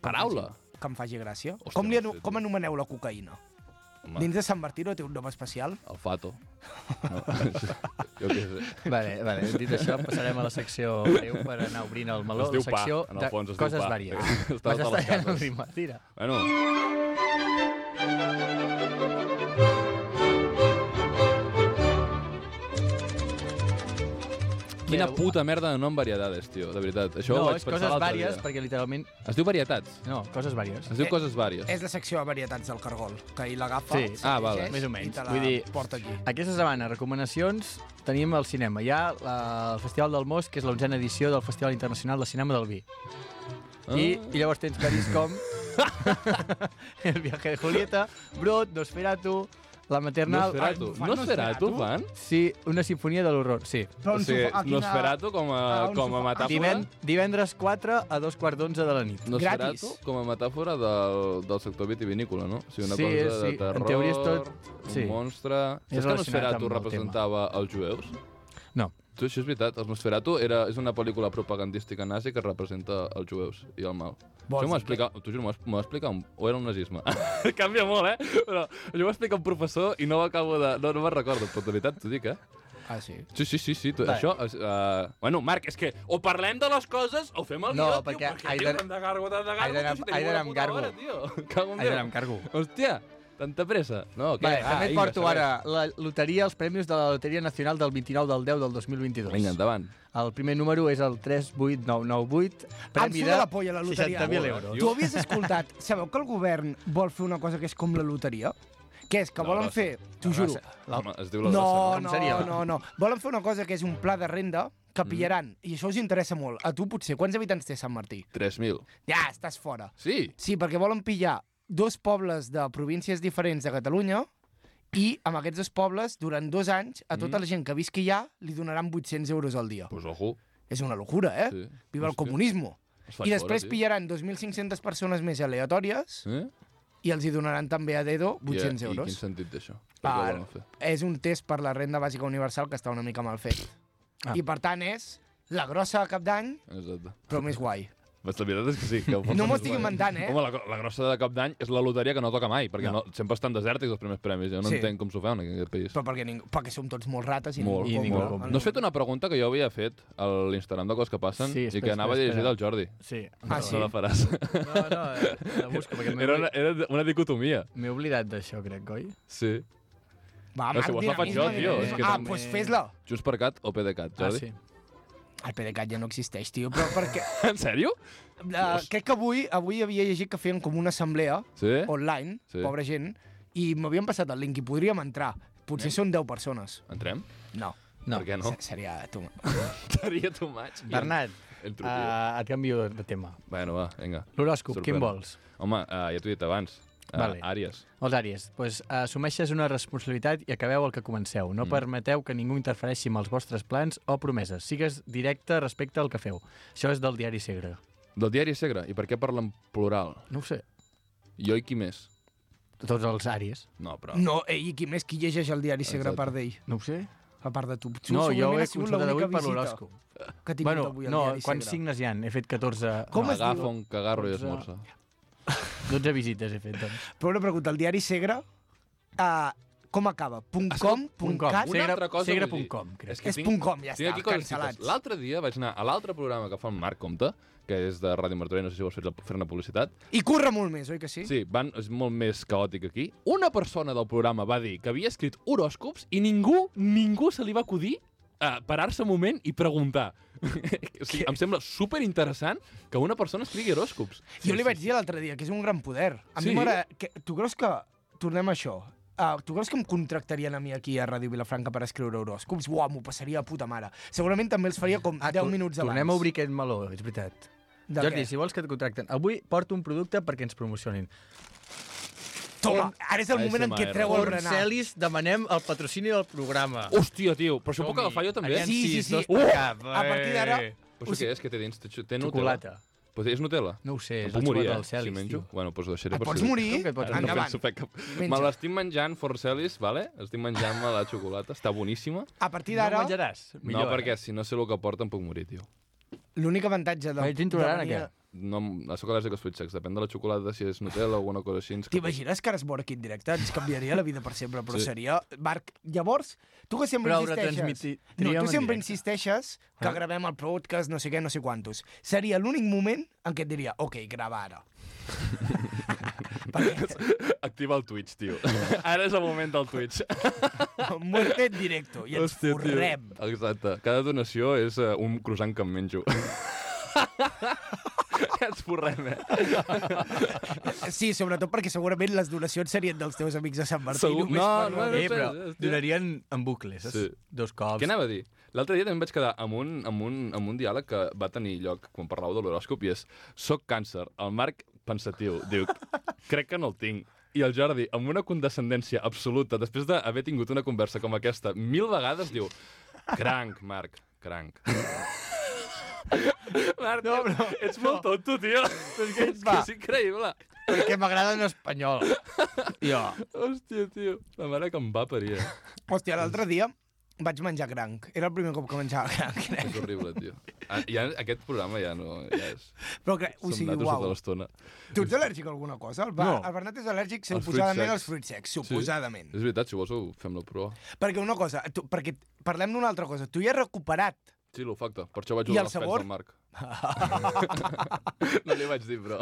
Speaker 2: Paraula?
Speaker 5: Que em faci gràcia.
Speaker 2: Hòstia,
Speaker 5: com, li
Speaker 2: no
Speaker 5: anu
Speaker 2: sé,
Speaker 5: com
Speaker 2: tio.
Speaker 5: anomeneu la cocaïna?
Speaker 2: Home,
Speaker 5: Dins de Sant Martí no té un nom especial?
Speaker 2: el Fato. No, jo què sé.
Speaker 1: Vale, vale. Dit això, passarem a la secció breu per anar obrint el meló.
Speaker 2: Es diu
Speaker 1: la secció
Speaker 2: pa, en el fons,
Speaker 1: de
Speaker 2: es diu
Speaker 1: coses
Speaker 2: pa.
Speaker 1: vàries. Vas
Speaker 2: Estàs a les
Speaker 1: estar
Speaker 2: cases.
Speaker 1: en el Tira.
Speaker 2: Bueno, quina
Speaker 1: Mireu,
Speaker 2: puta merda de nom variedades, tio, de veritat. Això ho
Speaker 1: uh, No,
Speaker 2: vaig
Speaker 1: és
Speaker 2: pensar
Speaker 1: coses
Speaker 2: l'altre
Speaker 1: vàries,
Speaker 2: dia.
Speaker 1: perquè literalment...
Speaker 2: Es diu varietats.
Speaker 1: No, coses vàries.
Speaker 2: Es diu
Speaker 5: Eh,
Speaker 2: coses vàries.
Speaker 5: És la secció de varietats del cargol, que ell l'agafa,
Speaker 1: Sí.
Speaker 5: se
Speaker 2: Ah, val.
Speaker 5: llegeix
Speaker 1: Més o
Speaker 5: i
Speaker 1: menys.
Speaker 5: te la
Speaker 1: Vull dir-
Speaker 5: porta aquí.
Speaker 1: Aquesta setmana, recomanacions, tenim al cinema. Hi ha la, el Festival del Most, que és l'onzena edició del Festival Internacional de Cinema del Vi.
Speaker 2: Ah.
Speaker 1: I, I llavors tens pel·lis com... el viaje de Julieta, Brot, Nosferatu, La maternal...
Speaker 2: Nosferatu.
Speaker 5: fan
Speaker 2: Nosferatu,
Speaker 5: Nosferatu?
Speaker 2: fan?
Speaker 1: Sí, una sinfonia de l'horror, sí.
Speaker 2: O
Speaker 5: Però on
Speaker 2: sigui,
Speaker 5: s'ho Doncs fa? A quina-
Speaker 2: Nosferatu com a,
Speaker 5: a on
Speaker 2: com a
Speaker 5: s'ho fa?
Speaker 2: metàfora...
Speaker 1: Divend divendres 4 a dos quarts d'onze de la nit.
Speaker 2: Nosferatu
Speaker 5: Gratis.
Speaker 2: com a metàfora del, del sector vitivinícola, no? O sigui, una
Speaker 1: Sí,
Speaker 2: cosa
Speaker 1: sí,
Speaker 2: de
Speaker 1: en
Speaker 2: terror,
Speaker 1: teoria és tot- sí.
Speaker 2: un monstre...
Speaker 1: És
Speaker 2: Saps que
Speaker 1: relacionat amb
Speaker 2: Nosferatu
Speaker 1: el
Speaker 2: representava els jueus?
Speaker 1: No.
Speaker 2: Tu, això és veritat. El Nosferatu era, és una pel·lícula propagandística nazi que representa els jueus i el mal. Vols això m'ho
Speaker 5: Vols dir que-
Speaker 2: explica... T'ho juro, m'ho va- m'ho va explicar... Un... O era un nazisme? Canvia molt, eh? Però jo m'ho explica un professor i no ho acabo de... No, no me'n recordo, però de veritat t'ho dic, eh?
Speaker 5: Ah, sí.
Speaker 2: Sí, sí, sí, sí. Tu,
Speaker 1: Vale.
Speaker 2: això... És, uh... Bueno, Marc, és que o parlem de les coses o fem el
Speaker 1: No,
Speaker 2: guió,
Speaker 1: perquè
Speaker 2: tio, perquè
Speaker 1: he
Speaker 2: tio,
Speaker 1: d'anar-
Speaker 2: hem de gargo, hem de gargo,
Speaker 1: he d'anar-
Speaker 2: tio, si
Speaker 1: he
Speaker 2: tenim una
Speaker 1: d'anar amb
Speaker 2: puta
Speaker 1: gargo.
Speaker 2: hora, tio. Cago en
Speaker 1: Ai, ara
Speaker 2: Déu.
Speaker 1: em cargo.
Speaker 2: Hòstia, tanta pressa. No, què?
Speaker 1: Vale,
Speaker 2: Ah,
Speaker 1: també et
Speaker 2: vinga,
Speaker 1: porto
Speaker 2: segueix.
Speaker 1: ara la loteria, els premis de la Loteria Nacional del 29 del 10 del 2022.
Speaker 2: Vinga, endavant.
Speaker 1: El primer número és el 38998, premi
Speaker 5: em
Speaker 1: de
Speaker 5: surt de la polla la loteria.
Speaker 1: 60.000 euros.
Speaker 5: Tu havies escoltat... Sabeu que el govern vol fer una cosa que és com la loteria? Que és que
Speaker 2: La
Speaker 5: volen
Speaker 2: grossa.
Speaker 5: fer... T'ho juro.
Speaker 2: Home, es diu la
Speaker 5: No,
Speaker 1: Com
Speaker 5: no,
Speaker 1: seria?
Speaker 5: no, no. Volen fer una cosa que és un pla de renda que
Speaker 2: Mm-hmm.
Speaker 5: pillaran, i això us interessa molt. A tu, potser, quants habitants té Sant Martí?
Speaker 2: 3.000.
Speaker 5: Ja, estàs fora.
Speaker 2: Sí.
Speaker 5: Sí, perquè volen pillar dos pobles de províncies diferents de Catalunya i amb
Speaker 2: Mm-hmm.
Speaker 5: aquests dos pobles, durant dos anys, a tota la gent que visqui allà li donaran 800 euros al dia.
Speaker 2: Pues ojo.
Speaker 5: És una locura, eh?
Speaker 2: Sí.
Speaker 5: Viva el
Speaker 2: Hòstia.
Speaker 5: comunisme.
Speaker 2: Es fan
Speaker 5: I després
Speaker 2: fora, tio.
Speaker 5: pillaran 2.500 persones més aleatòries
Speaker 2: Eh?
Speaker 5: i els hi donaran també a dedo 800
Speaker 2: I,
Speaker 5: yeah,
Speaker 2: I quin
Speaker 5: euros.
Speaker 2: sentit té això? Per què ho
Speaker 5: Per,
Speaker 2: volen fer?
Speaker 5: és un test per la renda bàsica universal que està una mica mal fet. Ah. I per tant és la grossa de cap d'any,
Speaker 2: Exacte.
Speaker 5: però més guai.
Speaker 2: Pues la veritat és que sí. Que ho
Speaker 5: No
Speaker 2: porten
Speaker 5: m'ho estic
Speaker 2: guai.
Speaker 5: inventant, eh?
Speaker 2: Home, la, la grossa de cap d'any és la loteria que no toca mai, perquè no. No, sempre estan desèrtics els primers premis. Jo no
Speaker 5: Sí.
Speaker 2: sí. entenc com s'ho fan en aquest país.
Speaker 5: Però perquè, ningú, perquè som tots molt rates i
Speaker 2: Molt,
Speaker 1: I
Speaker 2: i
Speaker 5: ningú
Speaker 1: ningú
Speaker 2: molt.
Speaker 1: compra.
Speaker 2: No has fet una pregunta que jo havia fet a l'Instagram de coses que passen
Speaker 1: Sí,
Speaker 2: i que
Speaker 1: espera,
Speaker 2: anava
Speaker 1: espera,
Speaker 2: dirigida
Speaker 1: espera.
Speaker 2: al Jordi.
Speaker 1: Sí.
Speaker 5: Ah,
Speaker 2: No,
Speaker 5: sí?
Speaker 2: No la faràs.
Speaker 1: No, no, eh, la busco, perquè m'he
Speaker 2: Era una,
Speaker 1: obli-
Speaker 2: era una dicotomia.
Speaker 1: m'he oblidat d'això, crec, coi?
Speaker 2: Sí.
Speaker 5: Va,
Speaker 2: No, si vols la faig jo,
Speaker 5: dinamisme,
Speaker 2: tio,
Speaker 5: dinamisme.
Speaker 2: és que
Speaker 5: ah,
Speaker 2: també-
Speaker 5: doncs pues fes-la.
Speaker 2: Junts per Cat o PDeCAT,
Speaker 1: Ah,
Speaker 2: Jordi?
Speaker 1: sí.
Speaker 5: El PDeCAT ja no existeix, tio, però perquè...
Speaker 2: En sèrio?
Speaker 5: Uh, crec que avui avui havia llegit que feien com una assemblea
Speaker 2: Sí?
Speaker 5: online,
Speaker 2: Sí.
Speaker 5: pobra gent, i m'havien passat el link i podríem entrar. Potser són 10 persones.
Speaker 2: Entrem?
Speaker 5: No.
Speaker 1: No.
Speaker 2: Per què no?
Speaker 5: Se- Seria tu.
Speaker 2: Seria tu maig.
Speaker 1: Bernat,
Speaker 2: El truquillo.
Speaker 1: uh, et canvio de tema.
Speaker 2: Bueno, va, vinga.
Speaker 1: L'horòscop, quin
Speaker 2: Sorprèn.
Speaker 1: vols?
Speaker 2: Home, uh, ja t'ho he dit abans. Uh,
Speaker 1: Vale.
Speaker 2: vale. Àries.
Speaker 1: Els àries, doncs, assumeixes una responsabilitat i acabeu el que comenceu. No mm. permeteu que ningú interfereixi amb els vostres plans o promeses. Sigues directe respecte al que feu. Això és del diari Segre.
Speaker 2: Del diari Segre. I per què parla en plural?
Speaker 1: No ho sé.
Speaker 2: Jo i qui més?
Speaker 1: Tots els àries.
Speaker 2: No, però...
Speaker 5: No, ei, i qui més qui llegeix el diari Segre a
Speaker 2: Exacte.
Speaker 5: part d'ell?
Speaker 1: No ho sé.
Speaker 5: A part de tu. Tu
Speaker 1: No, jo
Speaker 5: segurament
Speaker 1: ho he
Speaker 5: has sigut
Speaker 1: consultat
Speaker 5: l'única
Speaker 1: avui per
Speaker 5: visita
Speaker 1: l'horòscop.
Speaker 5: Que ha tingut
Speaker 1: Bueno,
Speaker 5: avui el
Speaker 1: no,
Speaker 5: diari
Speaker 1: quants
Speaker 5: Segre.
Speaker 1: signes hi han? He fet 14...
Speaker 5: Com
Speaker 2: Com
Speaker 5: es diu?
Speaker 2: Agafa un cagarro i
Speaker 1: Doncs, eh,
Speaker 2: esmorza.
Speaker 1: 12 visites he fet, doncs.
Speaker 5: Però una pregunta, el diari Segre, uh, com acaba? Ah, Punt com? Punt
Speaker 1: com.
Speaker 5: cat?
Speaker 1: Una segre-
Speaker 2: altra cosa vull dir.
Speaker 1: segre.com, crec.
Speaker 5: És punt com, ja
Speaker 2: tinc
Speaker 5: està,
Speaker 2: aquí coses
Speaker 5: cancel·lats.
Speaker 2: cites. L'altre dia vaig anar a l'altre programa que fa en Marc Comte, que és de Ràdio Martorell, no sé si vols fer la- fer-ne publicitat.
Speaker 5: I curra molt més, oi que sí?
Speaker 2: Sí, van, és molt més caòtic aquí. Una persona del programa va dir que havia escrit horòscops i ningú, ningú se li va acudir a parar-se un moment i preguntar. o sigui, em sembla superinteressant que una persona escrigui horòscops.
Speaker 5: Jo li vaig dir l'altre dia que és un gran poder. A mi
Speaker 2: Sí?
Speaker 5: m'agrada... que- Tu creus que... Tornem a això. Uh, tu creus que em contractarien a mi aquí a Ràdio Vilafranca per escriure horòscops? Uau, m'ho passaria a puta mare. Segurament també els faria com 10
Speaker 1: tor-
Speaker 5: minuts abans.
Speaker 1: Tornem a obrir aquest meló, és veritat.
Speaker 5: De
Speaker 1: Jordi,
Speaker 5: què?
Speaker 1: si vols que et contracten. Avui porto un producte perquè ens promocionin.
Speaker 5: Toma, ara és el moment en què
Speaker 2: ASMR.
Speaker 5: treu el berenar.
Speaker 1: Celis, demanem el patrocini del programa.
Speaker 2: Hòstia, tio, però això puc
Speaker 1: Som-hi.
Speaker 2: agafar jo també?
Speaker 1: Aviam
Speaker 5: Sí,
Speaker 1: si
Speaker 5: sí,
Speaker 1: és
Speaker 5: sí.
Speaker 1: dos
Speaker 5: Uh!
Speaker 1: per cap.
Speaker 5: A partir d'ara-
Speaker 1: Eh.
Speaker 2: Però això què és que té dins? Té, xo- té
Speaker 1: Xocolata.
Speaker 2: Nutella? Però és Nutella?
Speaker 1: No ho sé,
Speaker 2: Em
Speaker 1: és
Speaker 2: puc
Speaker 1: la
Speaker 2: morir,
Speaker 1: xocolata
Speaker 2: eh,
Speaker 1: del Celis,
Speaker 2: si menjo.
Speaker 1: tio.
Speaker 2: Bueno, doncs ho deixaré
Speaker 5: Et
Speaker 2: per
Speaker 5: pots
Speaker 2: si-
Speaker 5: morir?
Speaker 1: Com que et pots
Speaker 2: Ara no
Speaker 5: Endavant.
Speaker 2: penso fer cap...
Speaker 5: Menja.
Speaker 2: Me l'estic menjant, Forcelis, vale? Estic menjant-me la xocolata, està boníssima.
Speaker 5: A partir
Speaker 1: No
Speaker 5: d'ara,
Speaker 1: menjaràs? Millor,
Speaker 5: eh?
Speaker 1: eh?
Speaker 2: no, perquè si no sé el que porta em puc morir, tio.
Speaker 5: l'únic avantatge de...
Speaker 1: Ets intolerant a
Speaker 5: de venir
Speaker 1: què?
Speaker 2: No, em- la soc al·lèrgic als fruits secs. Depèn de la xocolata, si és Nutella o alguna cosa així. ens-
Speaker 5: T'imagines que ara es mor aquí en directe? Ens canviaria la vida per sempre, però
Speaker 2: Sí.
Speaker 5: sí. seria... Marc, llavors, tu que sempre
Speaker 1: Però ho
Speaker 5: insisteixes... No,
Speaker 1: retransmitiríem
Speaker 5: tu
Speaker 1: en
Speaker 5: sempre
Speaker 1: directe.
Speaker 5: insisteixes que
Speaker 1: Ah.
Speaker 5: gravem el podcast, no sé què, no sé quantos. Seria l'únic moment en què et diria, ok, grava ara. Perquè
Speaker 2: Activa el Twitch, tio. Ara és el moment del Twitch.
Speaker 5: muerte en directo i ens
Speaker 2: Hòstia, tio.
Speaker 5: forrem.
Speaker 2: Exacte. Cada donació és eh, un croissant que em menjo. Ens forrem, eh?
Speaker 5: Sí, sobretot perquè segurament les donacions serien dels teus amics de Sant Martí.
Speaker 2: Segur-
Speaker 5: només
Speaker 2: no,
Speaker 5: per-
Speaker 2: no, no.
Speaker 1: Eh, però
Speaker 2: Hòstia.
Speaker 1: donarien en bucles, saps?
Speaker 2: Sí.
Speaker 1: Dos cops.
Speaker 2: Què anava a dir? L'altre dia també em vaig quedar amb un, amb, un, amb un diàleg que va tenir lloc quan parlàveu de l'horòscop i és «Soc càncer». El Marc, pensatiu, diu «Crec que no el tinc». I el Jordi, amb una condescendència absoluta, després d'haver tingut una conversa com aquesta mil vegades, diu «Cranc, Marc, cranc». Marc, no, però, ets molt tonto, tio. És que, és, que
Speaker 1: va.
Speaker 2: és increïble.
Speaker 1: Perquè m'agrada en espanyol. Jo.
Speaker 2: Hòstia, tio, la mare que em va parir. eh?
Speaker 5: Hòstia, l'altre dia vaig menjar cranc. Era el primer cop que menjava cranc. crec.
Speaker 2: És horrible, tio. Ah, Ja, aquest programa ja no... Ja és...
Speaker 5: Però, cre- o
Speaker 2: Som
Speaker 5: sigui,
Speaker 2: nosaltres
Speaker 5: uau.
Speaker 2: tota l'estona.
Speaker 5: Tu ets al·lèrgic a alguna cosa? El, ba...
Speaker 1: No.
Speaker 5: no. el Bernat és al·lèrgic
Speaker 2: fruits
Speaker 5: suposadament
Speaker 2: secs.
Speaker 5: als fruits secs, suposadament.
Speaker 2: És veritat, si vols ho fem la prova.
Speaker 5: Sí. Perquè una cosa, tu, perquè parlem d'una altra cosa, tu ja has recuperat.
Speaker 2: Sí, l'olfacte. Per això vaig
Speaker 5: I
Speaker 2: jugar
Speaker 5: el
Speaker 2: els pets
Speaker 5: sabor?
Speaker 2: del Marc. no li vaig dir, però...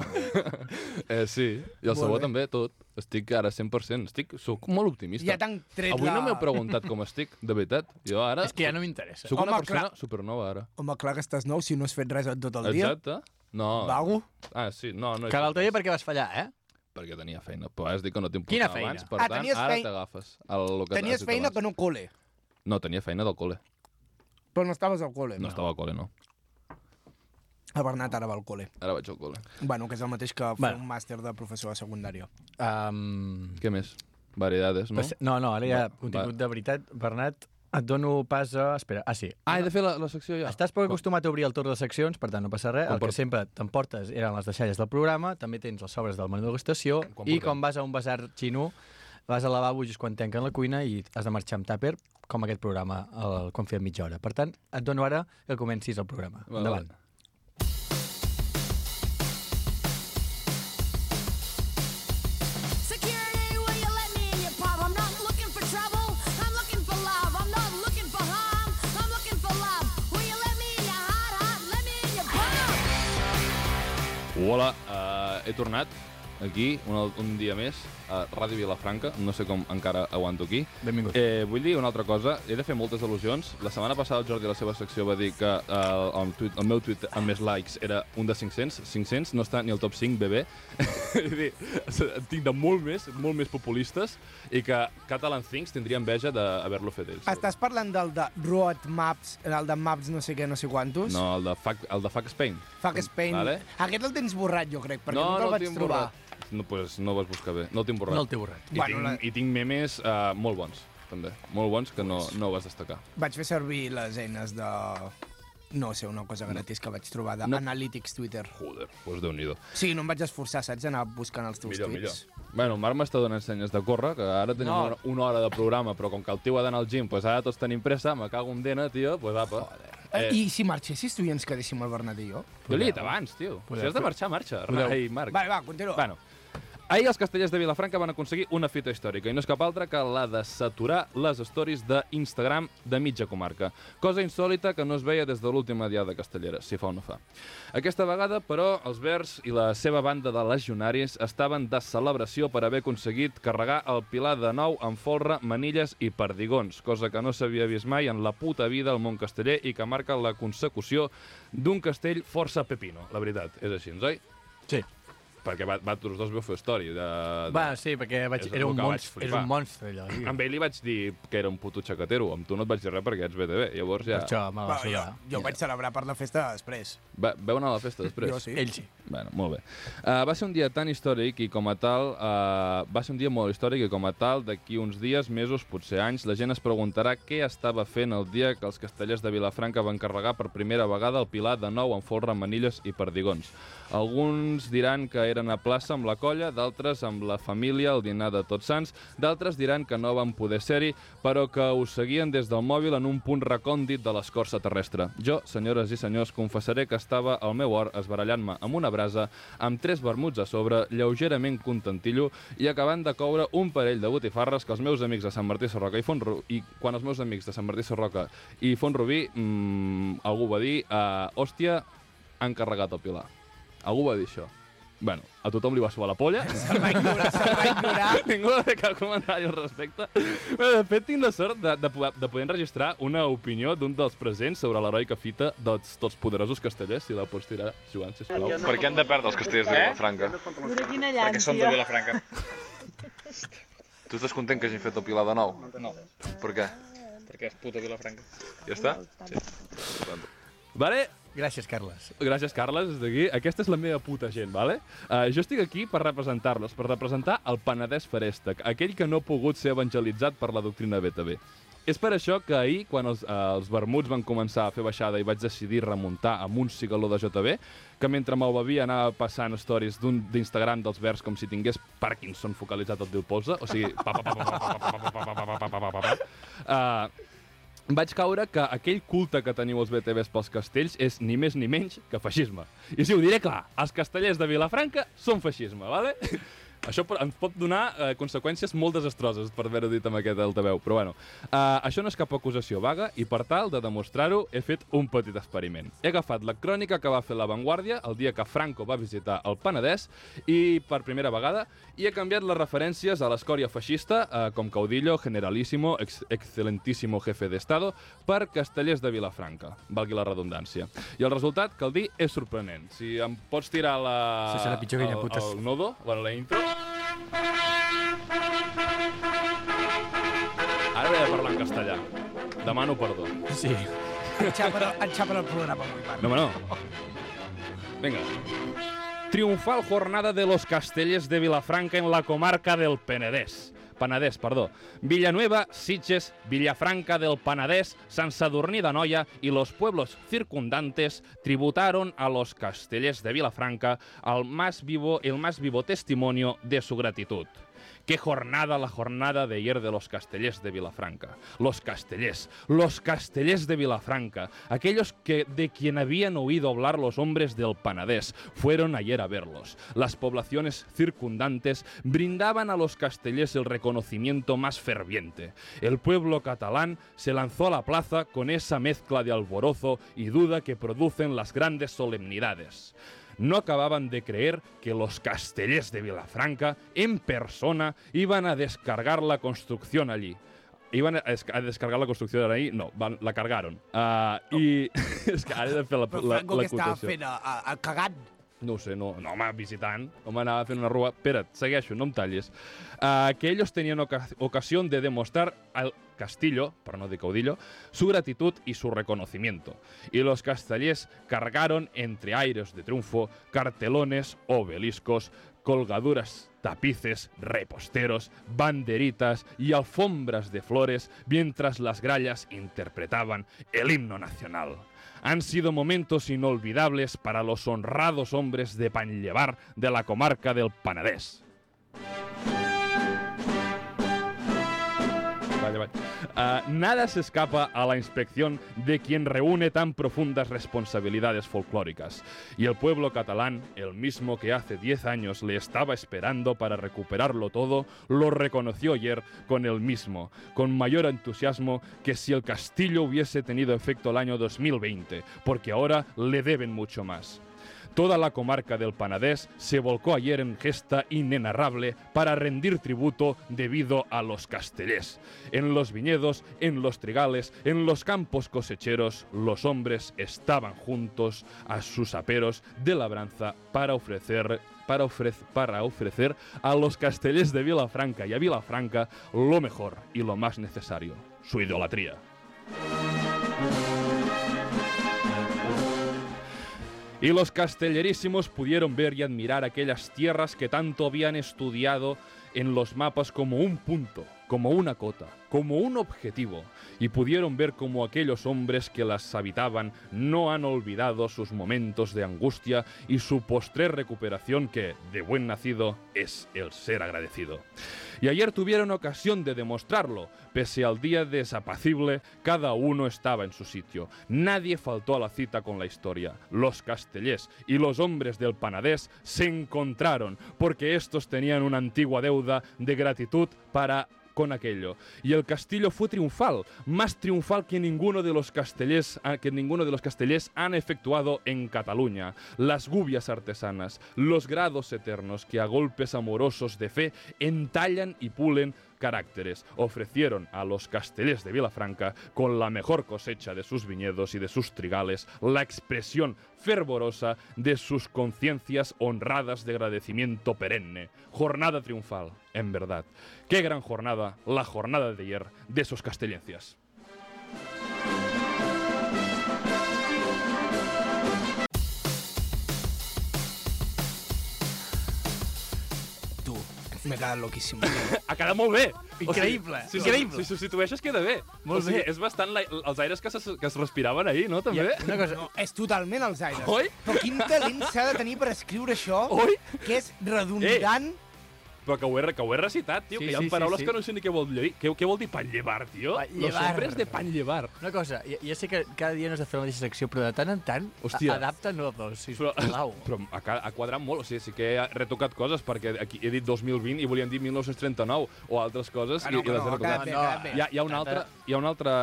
Speaker 2: eh, sí, i el
Speaker 5: Molt
Speaker 2: sabor
Speaker 5: bé.
Speaker 2: també, tot. Estic ara 100%. Estic, soc molt optimista.
Speaker 5: Ja t'han tret
Speaker 2: Avui
Speaker 5: la...
Speaker 2: no m'heu preguntat com estic, de veritat. Jo ara...
Speaker 1: És que ja no m'interessa.
Speaker 2: Soc una
Speaker 5: Home,
Speaker 2: persona supernova, ara.
Speaker 5: Home, clar que estàs nou si no has fet res en tot el dia.
Speaker 2: Exacte. No.
Speaker 5: Vago.
Speaker 2: Ah, sí, no, no. he
Speaker 1: Oh, Que l'altre
Speaker 2: fet
Speaker 1: dia perquè vas fallar, eh?
Speaker 2: res, Perquè tenia feina. Però has dit que no t'importava
Speaker 1: Quina feina?
Speaker 2: abans, per
Speaker 5: Ah,
Speaker 2: tant,
Speaker 5: tenies
Speaker 2: ara
Speaker 5: fei-
Speaker 2: t'agafes. el que
Speaker 5: Tenies
Speaker 2: has dit
Speaker 5: feina
Speaker 2: abans.
Speaker 5: que no cole,
Speaker 2: No, tenia feina del col·le.
Speaker 5: però no estaves al cole.
Speaker 2: No, estava al col·le, no.
Speaker 5: El Bernat ara va al cole.
Speaker 2: Ara vaig al col·le.
Speaker 5: Bueno, que és el mateix que fer
Speaker 1: Bueno.
Speaker 5: un màster de professor de secundària.
Speaker 1: Um,
Speaker 2: Què més? Variedades, no?
Speaker 1: no, no, ara ja
Speaker 2: Va,
Speaker 1: contingut de veritat, Bernat. et dono pas a... Espera, ah, sí.
Speaker 2: Ah, he de fer la, la secció ja.
Speaker 1: Estàs poc acostumat a obrir el torn de seccions, per tant no passa res.
Speaker 2: Quan
Speaker 1: El que
Speaker 2: porto-
Speaker 1: sempre t'emportes eren les deixalles del programa, també tens les sobres del menú d'estació,
Speaker 2: Quan
Speaker 1: i
Speaker 2: portem?
Speaker 1: quan vas a un basar xinú, vas al lavabo just quan tanquen la cuina i has de marxar amb tàper, com aquest programa, el, quan fem mitja hora. Per tant, et dono ara que comencis el programa.
Speaker 2: Vale,
Speaker 1: Endavant.
Speaker 2: vale.
Speaker 7: Security, will you let me in your pub? I'm not looking for trouble. I'm looking for love. I'm not looking for harm. I'm looking for love. Will you let me in your heart, heart? Let me in your pub.
Speaker 2: Hola, uh, he tornat aquí un, al- un dia més a Ràdio Vilafranca. No sé com encara aguanto aquí.
Speaker 1: Benvingut.
Speaker 2: Eh, vull dir una altra cosa. He de fer moltes al·lusions. La setmana passada el Jordi a la seva secció va dir que eh, el, tuit, el meu tuit amb més likes era un de 500. 500 no està ni al top 5, bebè. Vull dir, en tinc de molt més, molt més populistes i que Catalan Things tindria enveja d'haver-lo fet ells.
Speaker 3: Estàs parlant del de Road Maps, el de Maps no sé què, no sé quantos?
Speaker 2: No, el de Fuck, el de fuck Spain.
Speaker 3: Fuck Spain.
Speaker 2: Vale.
Speaker 3: Aquest el tens borrat, jo crec, perquè no, nunca el
Speaker 2: el
Speaker 3: vaig
Speaker 2: tinc
Speaker 3: trobar.
Speaker 2: borrat. No, pues, no el vas buscar bé. No el tinc borrat.
Speaker 1: No el teu borrat.
Speaker 2: I,
Speaker 3: Bueno,
Speaker 2: bueno, tinc,
Speaker 3: la-
Speaker 2: I tinc memes uh, molt bons, també. Molt bons que no, no vas destacar.
Speaker 3: Vaig fer servir les eines de... No sé, una cosa gratis que vaig trobar
Speaker 2: No.
Speaker 3: d'Analytics no. Twitter.
Speaker 2: Joder, pues Déu-n'hi-do.
Speaker 3: Sí, no em vaig esforçar, saps? Anar buscant els teus
Speaker 2: Millor, millor.
Speaker 3: tuits.
Speaker 2: Bueno, el Marc m'està donant senyes de córrer, que ara tenim
Speaker 1: No.
Speaker 2: no. una, una hora de programa, però com que el tio ha d'anar al gim, pues ara tots tenim pressa, me cago en dena, tio, pues apa.
Speaker 3: Eh.
Speaker 2: Eh,
Speaker 3: I si marxessis tu i ens quedéssim el Bernat i jo?
Speaker 2: Jo l'he dit abans, tio. Si has de marxar, marxa.
Speaker 1: Podeu.
Speaker 2: Ai, Marc.
Speaker 3: Vale, va, continua.
Speaker 2: Bueno, ahir els castellers de Vilafranca van aconseguir una fita històrica i no és cap altra que la de saturar les stories d'Instagram de mitja comarca. Cosa insòlita que no es veia des de l'última diada castellera, si fa o no fa. Aquesta vegada, però, els Verds i la seva banda de legionaris estaven de celebració per haver aconseguit carregar el Pilar de nou amb folre, manilles i perdigons, cosa que no s'havia vist mai en la puta vida al món casteller i que marca la consecució d'un castell força pepino, la veritat. És així, oi?
Speaker 1: Sí.
Speaker 2: Perquè va, va, tots dos veu fer història. De, de...
Speaker 1: Va, sí, perquè vaig,
Speaker 2: És
Speaker 1: era,
Speaker 2: el
Speaker 1: un
Speaker 2: que vaig
Speaker 1: monstre,
Speaker 2: flipar.
Speaker 1: era un monstre, allò. tio.
Speaker 2: Amb ell li vaig dir que era un puto xacatero. Amb tu no et vaig dir res perquè ets BTV. Llavors
Speaker 1: Per
Speaker 2: ja...
Speaker 1: això me la va
Speaker 3: Va, jo,
Speaker 1: sudar.
Speaker 3: jo vaig celebrar per la festa després.
Speaker 2: Va, veu anar a la festa després?
Speaker 3: Jo sí.
Speaker 1: Ell sí.
Speaker 2: Bueno, molt bé. Uh, va ser un dia tan històric i com a tal... Uh, va ser un dia molt històric i com a tal, d'aquí uns dies, mesos, potser anys, la gent es preguntarà què estava fent el dia que els castellers de Vilafranca van carregar per primera vegada el Pilar de nou amb folre, manilles i perdigons. Alguns diran que eren a plaça amb la colla, d'altres amb la família al dinar de Tots Sants, d'altres diran que no van poder ser-hi, però que ho seguien des del mòbil en un punt recòndit de l'escorça terrestre. Jo, senyores i senyors, confessaré que estava al meu hort esbarallant-me amb una brasa, amb tres vermuts a sobre, lleugerament contentillo, i acabant de coure un parell de botifarres que els meus amics de Sant Martí Sarroca i Fontrubí, i quan els meus amics de Sant Martí Sarroca i Fontrubí, mmm, algú va dir, eh, hòstia, han carregat el Pilar. Algú va dir això. Bueno, a tothom li va suar la polla. Se'l va ignorar, se'l va ignorar. Ningú va fer cap comentari al respecte. Bé, de fet, tinc la sort de, de, poder- de poder enregistrar una opinió d'un dels presents sobre l'heroica fita dels tots poderosos castellers, si la pots tirar, Joan, sisplau.
Speaker 8: Per què han de perdre els castellers de Vilafranca?
Speaker 5: Quina
Speaker 8: Eh? Perquè són de
Speaker 5: llància.
Speaker 8: Vilafranca. Tu estàs content que hagin fet el Pilar de nou? No. Per què? Perquè és puta Vilafranca. Ja està? Sí.
Speaker 2: Vale?
Speaker 1: Gràcies, Carles.
Speaker 2: Gràcies, Carles, des d'aquí. Aquesta és la meva puta gent, vale? Uh, jo estic aquí per representar-los, per representar el Penedès Ferèstec, aquell que no ha pogut ser evangelitzat per la doctrina BTV. És per això que ahir, quan els, eh, els vermuts van començar a fer baixada i vaig decidir remuntar amb un cigaló de JB, que mentre me'l bevia anava passant stories d'un- d'Instagram dels verds com si tingués Parkinson focalitzat al teu polze, o sigui... Pa, pa, pa, pa, pa, pa, pa, pa, pa, pa, pa, pa, pa, pa, pa. Eh, vaig caure que aquell culte que teniu els BTVs pels castells és ni més ni menys que feixisme. I si ho diré clar, els castellers de Vilafranca són feixisme, vale? Això po- ens pot donar eh, conseqüències molt desastroses per haver-ho dit amb aquest altaveu, però bueno. Eh, això no és cap acusació vaga i per tal de demostrar-ho he fet un petit experiment. He agafat la crònica que va fer La Vanguardia el dia que Franco va visitar el Penedès i per primera vegada i he canviat les referències a l'escòria feixista eh, com caudillo, generalíssimo, ex excelentíssimo jefe d'estado per castellers de Vilafranca, valgui la redundància. I el resultat, cal dir, és sorprenent. Si em pots tirar la...
Speaker 1: Sí, serà pitjor que
Speaker 2: el,
Speaker 1: Llaputes.
Speaker 2: el nodo, bueno, la intro... Ara he de parlar en castellà. Demano perdó.
Speaker 1: Sí.
Speaker 3: Enxapen el, enxapen el programa avui, Marc.
Speaker 2: No, home, no. Vinga. Triunfal jornada de los castellers de Vilafranca en la comarca del Penedès. Penedès, perdó. Villanueva, Sitges, Villafranca del Penedès, Sant Sadurní de Noia i los pueblos circundantes tributaron a los castellers de Vilafranca el más vivo, el más vivo testimonio de su gratitud. Qué jornada la jornada de ayer de los castellers de Vilafranca. Los castellers, los castellers de Vilafranca, aquellos que de quien habían oído hablar los hombres del Panadés, fueron ayer a verlos. Las poblaciones circundantes brindaban a los castellers el reconocimiento más ferviente. El pueblo catalán se lanzó a la plaza con esa mezcla de alborozo y duda que producen las grandes solemnidades no acababan de creer que los castellers de Vilafranca, en persona, iban a descargar la construcción allí. Iban a, des- a descargar la construcción allí? No, van, la cargaron. Ah, I és que ara he de fer la, la, la acotació.
Speaker 5: a, a, a cagant.
Speaker 2: No ho sé, no, no home, visitant, home, anava fent una rua. Espera't, segueixo, no em tallis. Uh, que ellos tenían oca ocasión de demostrar al Castillo, para no de caudillo, su gratitud y su reconocimiento. Y los castellers cargaron entre aires de triunfo cartelones, obeliscos, colgaduras, tapices, reposteros, banderitas y alfombras de flores mientras las grallas interpretaban el himno nacional. Han sido momentos inolvidables para los honrados hombres de Panllevar de la comarca del Penedès. Vale, vale. Ah, nada se escapa a la inspección de quien reúne tan profundas responsabilidades folclóricas. Y el pueblo catalán, el mismo que hace 10 años le estaba esperando para recuperarlo todo, lo reconoció ayer con el mismo, con mayor entusiasmo que si el castillo hubiese tenido efecto el año 2020, porque ahora le deben mucho más. Toda la comarca del Panadés se volcó ayer en gesta inenarrable para rendir tributo debido a los castellers. En los viñedos, en los trigales, en los campos cosecheros, los hombres estaban juntos a sus aperos de labranza para ofrecer para, ofrec- para ofrecer a los castellers de Vilafranca y a Vilafranca lo mejor y lo más necesario, su idolatría. Y los castellerísimos pudieron ver y admirar aquellas tierras que tanto habían estudiado en los mapas como un punto, como una cota, como un objetivo, y pudieron ver cómo aquellos hombres que las habitaban no han olvidado sus momentos de angustia y su postre recuperación que, de buen nacido, es el ser agradecido. Y ayer tuvieron ocasión de demostrarlo. Pese al día desapacible, cada uno estaba en su sitio. Nadie faltó a la cita con la historia. Los castellers y los hombres del Panadés se encontraron, porque estos tenían una antigua deuda de gratitud para con aquello. Y el castillo fue triunfal, más triunfal que ninguno de los castellers, ah, que ninguno de los castellers han efectuado en Cataluña. Las gubias artesanas, los grados eternos que a golpes amorosos de fe entallan y pulen caracteres, ofrecieron a los castellers de Vilafranca, con la mejor cosecha de sus viñedos y de sus trigales, la expresión fervorosa de sus conciencias honradas de agradecimiento perenne. Jornada triunfal, en verdad. Qué gran jornada, la jornada de ayer de esos castellencias.
Speaker 5: Tu, m'he quedat loquíssim.
Speaker 2: Ha quedat molt bé!
Speaker 1: Increïble,
Speaker 2: si,
Speaker 1: increïble.
Speaker 2: Si, substitueixes queda bé.
Speaker 1: Molt
Speaker 2: o sigui,
Speaker 1: bé.
Speaker 2: És bastant la, els aires que, se, que es respiraven ahir, no? També?
Speaker 1: Una cosa,
Speaker 5: No, és totalment als aires.
Speaker 2: Eh? Oi?
Speaker 5: Però quin talent s'ha de tenir per escriure això,
Speaker 2: Oi? Eh?
Speaker 5: que és redundant.
Speaker 2: Però que ho he, re- que ho he recitat, tio,
Speaker 1: Sí,
Speaker 2: que hi ha
Speaker 1: sí, sí,
Speaker 2: paraules
Speaker 1: sí.
Speaker 2: que no sé ni què vol dir. Què, què vol dir pan llevar, tio?
Speaker 1: Panllevar.
Speaker 2: Los hombres de pan llevar.
Speaker 1: una cosa, ja, ja sé que cada dia no has de fer la mateixa secció, però de tant en tant,
Speaker 2: Hòstia.
Speaker 1: adapta-nos dos,
Speaker 2: Però,
Speaker 1: sisplau.
Speaker 2: però ha, ca- ha quadrat molt, o sigui, sí que he retocat coses, perquè aquí he dit 2020 i volien dir 1939 o altres coses
Speaker 5: Ah, no,
Speaker 2: i, i les he
Speaker 5: no, ha
Speaker 2: retocat.
Speaker 5: quedat bé, ha quedat bé.
Speaker 2: Hi ha, hi, ha una altra, hi ha una altra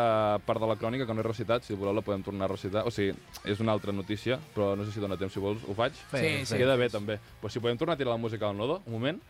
Speaker 2: part de la crònica que no he recitat, si voleu la podem tornar a recitar. O sigui, és una altra notícia, però no sé si dóna temps, si vols ho faig.
Speaker 1: Fes,
Speaker 5: Sí,
Speaker 2: Sí,
Speaker 5: sí.
Speaker 2: queda bé, també. Pues si podem tornar a tirar la música del Nodo, un moment.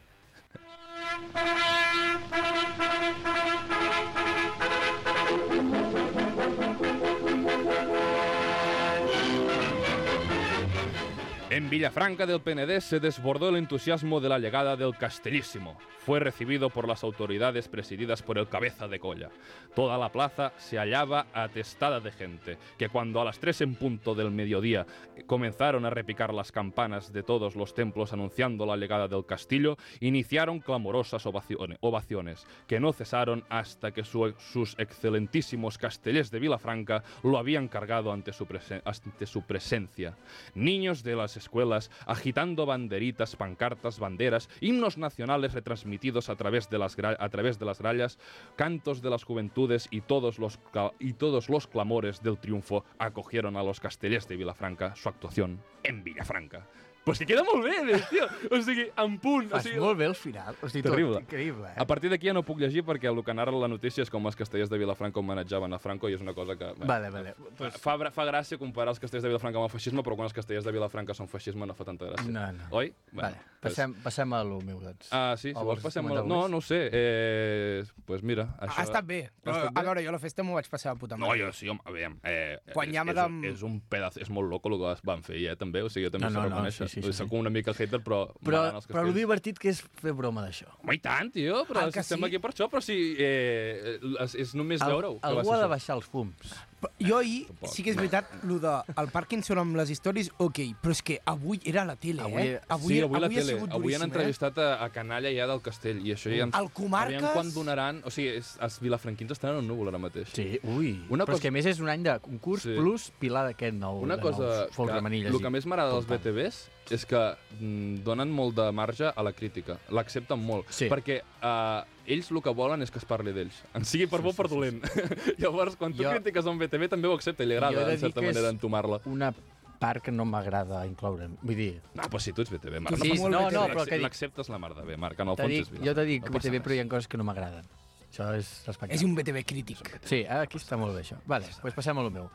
Speaker 2: En Villafranca del Penedés se desbordó el entusiasmo de la llegada del Castellísimo. Fue recibido por las autoridades presididas por el cabeza de colla. Toda la plaza se hallaba atestada de gente, que cuando a las tres en punto del mediodía comenzaron a repicar las campanas de todos los templos anunciando la llegada del castillo, iniciaron clamorosas ovacione- ovaciones, que no cesaron hasta que su- sus excelentísimos castellés de Vilafranca lo habían cargado ante su, presen- ante su presencia. Niños de las escuelas agitando banderitas, pancartas, banderas, himnos nacionales retransmitidos a través de las, gra- a través de las grallas, cantos de las juventudes y todos, los cla- y todos los clamores del triunfo acogieron a los castellers de Vilafranca su actuación en Vilafranca. Pues que queda molt bé, tio. O sigui, en punt. O
Speaker 1: Fas
Speaker 2: sigui,
Speaker 1: molt bé el final. O sigui, tot,
Speaker 2: Terrible.
Speaker 1: increïble, eh?
Speaker 2: a partir d'aquí ja no puc llegir perquè el que narra la notícia és com els castellers de Vilafranca homenatjaven a Franco i és una cosa que... bé,
Speaker 1: Vale, vale. Doncs,
Speaker 2: Pues... Fa, gra- fa gràcia comparar els castellers de Vilafranca amb el feixisme, però quan els castellers de Vilafranca són feixisme no fa tanta gràcia.
Speaker 1: No, no.
Speaker 2: Oi?
Speaker 1: Vale, passem, passem a lo meu, doncs.
Speaker 2: Ah, sí,
Speaker 1: O
Speaker 2: si vols passem...
Speaker 1: comentar
Speaker 2: Molt... No,
Speaker 1: algunes?
Speaker 2: no ho sé. Eh, pues mira, això...
Speaker 5: Ha estat Ah, bé, però
Speaker 2: estat bé?
Speaker 5: a veure, jo a la festa m'ho vaig passar de puta
Speaker 2: No,
Speaker 5: mare.
Speaker 2: jo sí, home, a veure, eh,
Speaker 5: Quan
Speaker 2: és,
Speaker 5: ja
Speaker 2: és,
Speaker 5: madam-
Speaker 2: és, un pedaç, és molt loco el que van fer, eh, també, o sigui, jo també
Speaker 1: No,
Speaker 2: no,
Speaker 1: no,
Speaker 2: no,
Speaker 1: no,
Speaker 2: no, sí, sí, sí, Soc una mica hater, però...
Speaker 1: Però,
Speaker 2: m'agraden
Speaker 1: però
Speaker 2: els
Speaker 1: el
Speaker 2: castells.
Speaker 1: divertit que és fer broma d'això.
Speaker 2: Home, i tant, tio, però
Speaker 5: Ah,
Speaker 2: si
Speaker 5: que
Speaker 2: estem
Speaker 5: sí?
Speaker 2: aquí per això, però si eh, és, és només
Speaker 1: Al-
Speaker 2: veure-ho. que va
Speaker 1: algú
Speaker 2: ser
Speaker 1: ha de
Speaker 2: això.
Speaker 1: baixar els fums.
Speaker 5: Però Jo ahir
Speaker 2: Tampoc.
Speaker 5: sí que és veritat, lo de el Parkinson amb les històries, ok, però és que avui era a la tele,
Speaker 1: Avui-
Speaker 5: eh?
Speaker 2: Avui, sí, avui, la
Speaker 5: avui
Speaker 2: tele.
Speaker 5: ha sigut
Speaker 2: Avui
Speaker 1: eh?
Speaker 2: han
Speaker 5: duríssim, eh?
Speaker 2: entrevistat a, a Canalla ja del Castell i això ja ens...
Speaker 5: Al Comarques?
Speaker 2: Aviam quan donaran... O sigui, és, els vilafranquins estan en un núvol ara mateix.
Speaker 1: Sí, ui. Una
Speaker 2: Una
Speaker 1: però
Speaker 2: cosa-
Speaker 1: és que a més és un any de concurs
Speaker 2: Sí.
Speaker 1: sí. plus Pilar d'aquest nou.
Speaker 2: Una
Speaker 1: de
Speaker 2: cosa
Speaker 1: nous, que,
Speaker 2: que, el que més m'agrada dels BTVs és que mm, donen molt de marge a la crítica, l'accepten molt,
Speaker 1: Sí.
Speaker 2: perquè eh, ells el que volen és que es parli d'ells, en sigui per bo o per dolent. Llavors, quan tu
Speaker 1: Jo-
Speaker 2: critiques un BTV també ho accepta i
Speaker 1: Jo
Speaker 2: li
Speaker 1: he de
Speaker 2: agrada, en
Speaker 1: dir
Speaker 2: certa
Speaker 1: que és-
Speaker 2: manera, entomar-la.
Speaker 1: Una part que no m'agrada incloure'n. Vull dir,
Speaker 2: No, però si tu ets BTV, Marc.
Speaker 1: Sí,
Speaker 2: passa
Speaker 1: no,
Speaker 2: res.
Speaker 1: no, però que dic-
Speaker 2: L'acceptes la merda bé, Marc, en el
Speaker 1: te
Speaker 2: fons
Speaker 1: dic,
Speaker 2: és Vilafranca.
Speaker 1: jo t'he dit que
Speaker 2: passa
Speaker 1: BTV, però hi
Speaker 2: res.
Speaker 1: ha coses que no m'agraden. Això és
Speaker 5: Eh?
Speaker 1: respectable.
Speaker 5: És un BTV crític.
Speaker 1: Sí, eh, aquí està molt bé això. Vale, doncs pues passem a lo meu.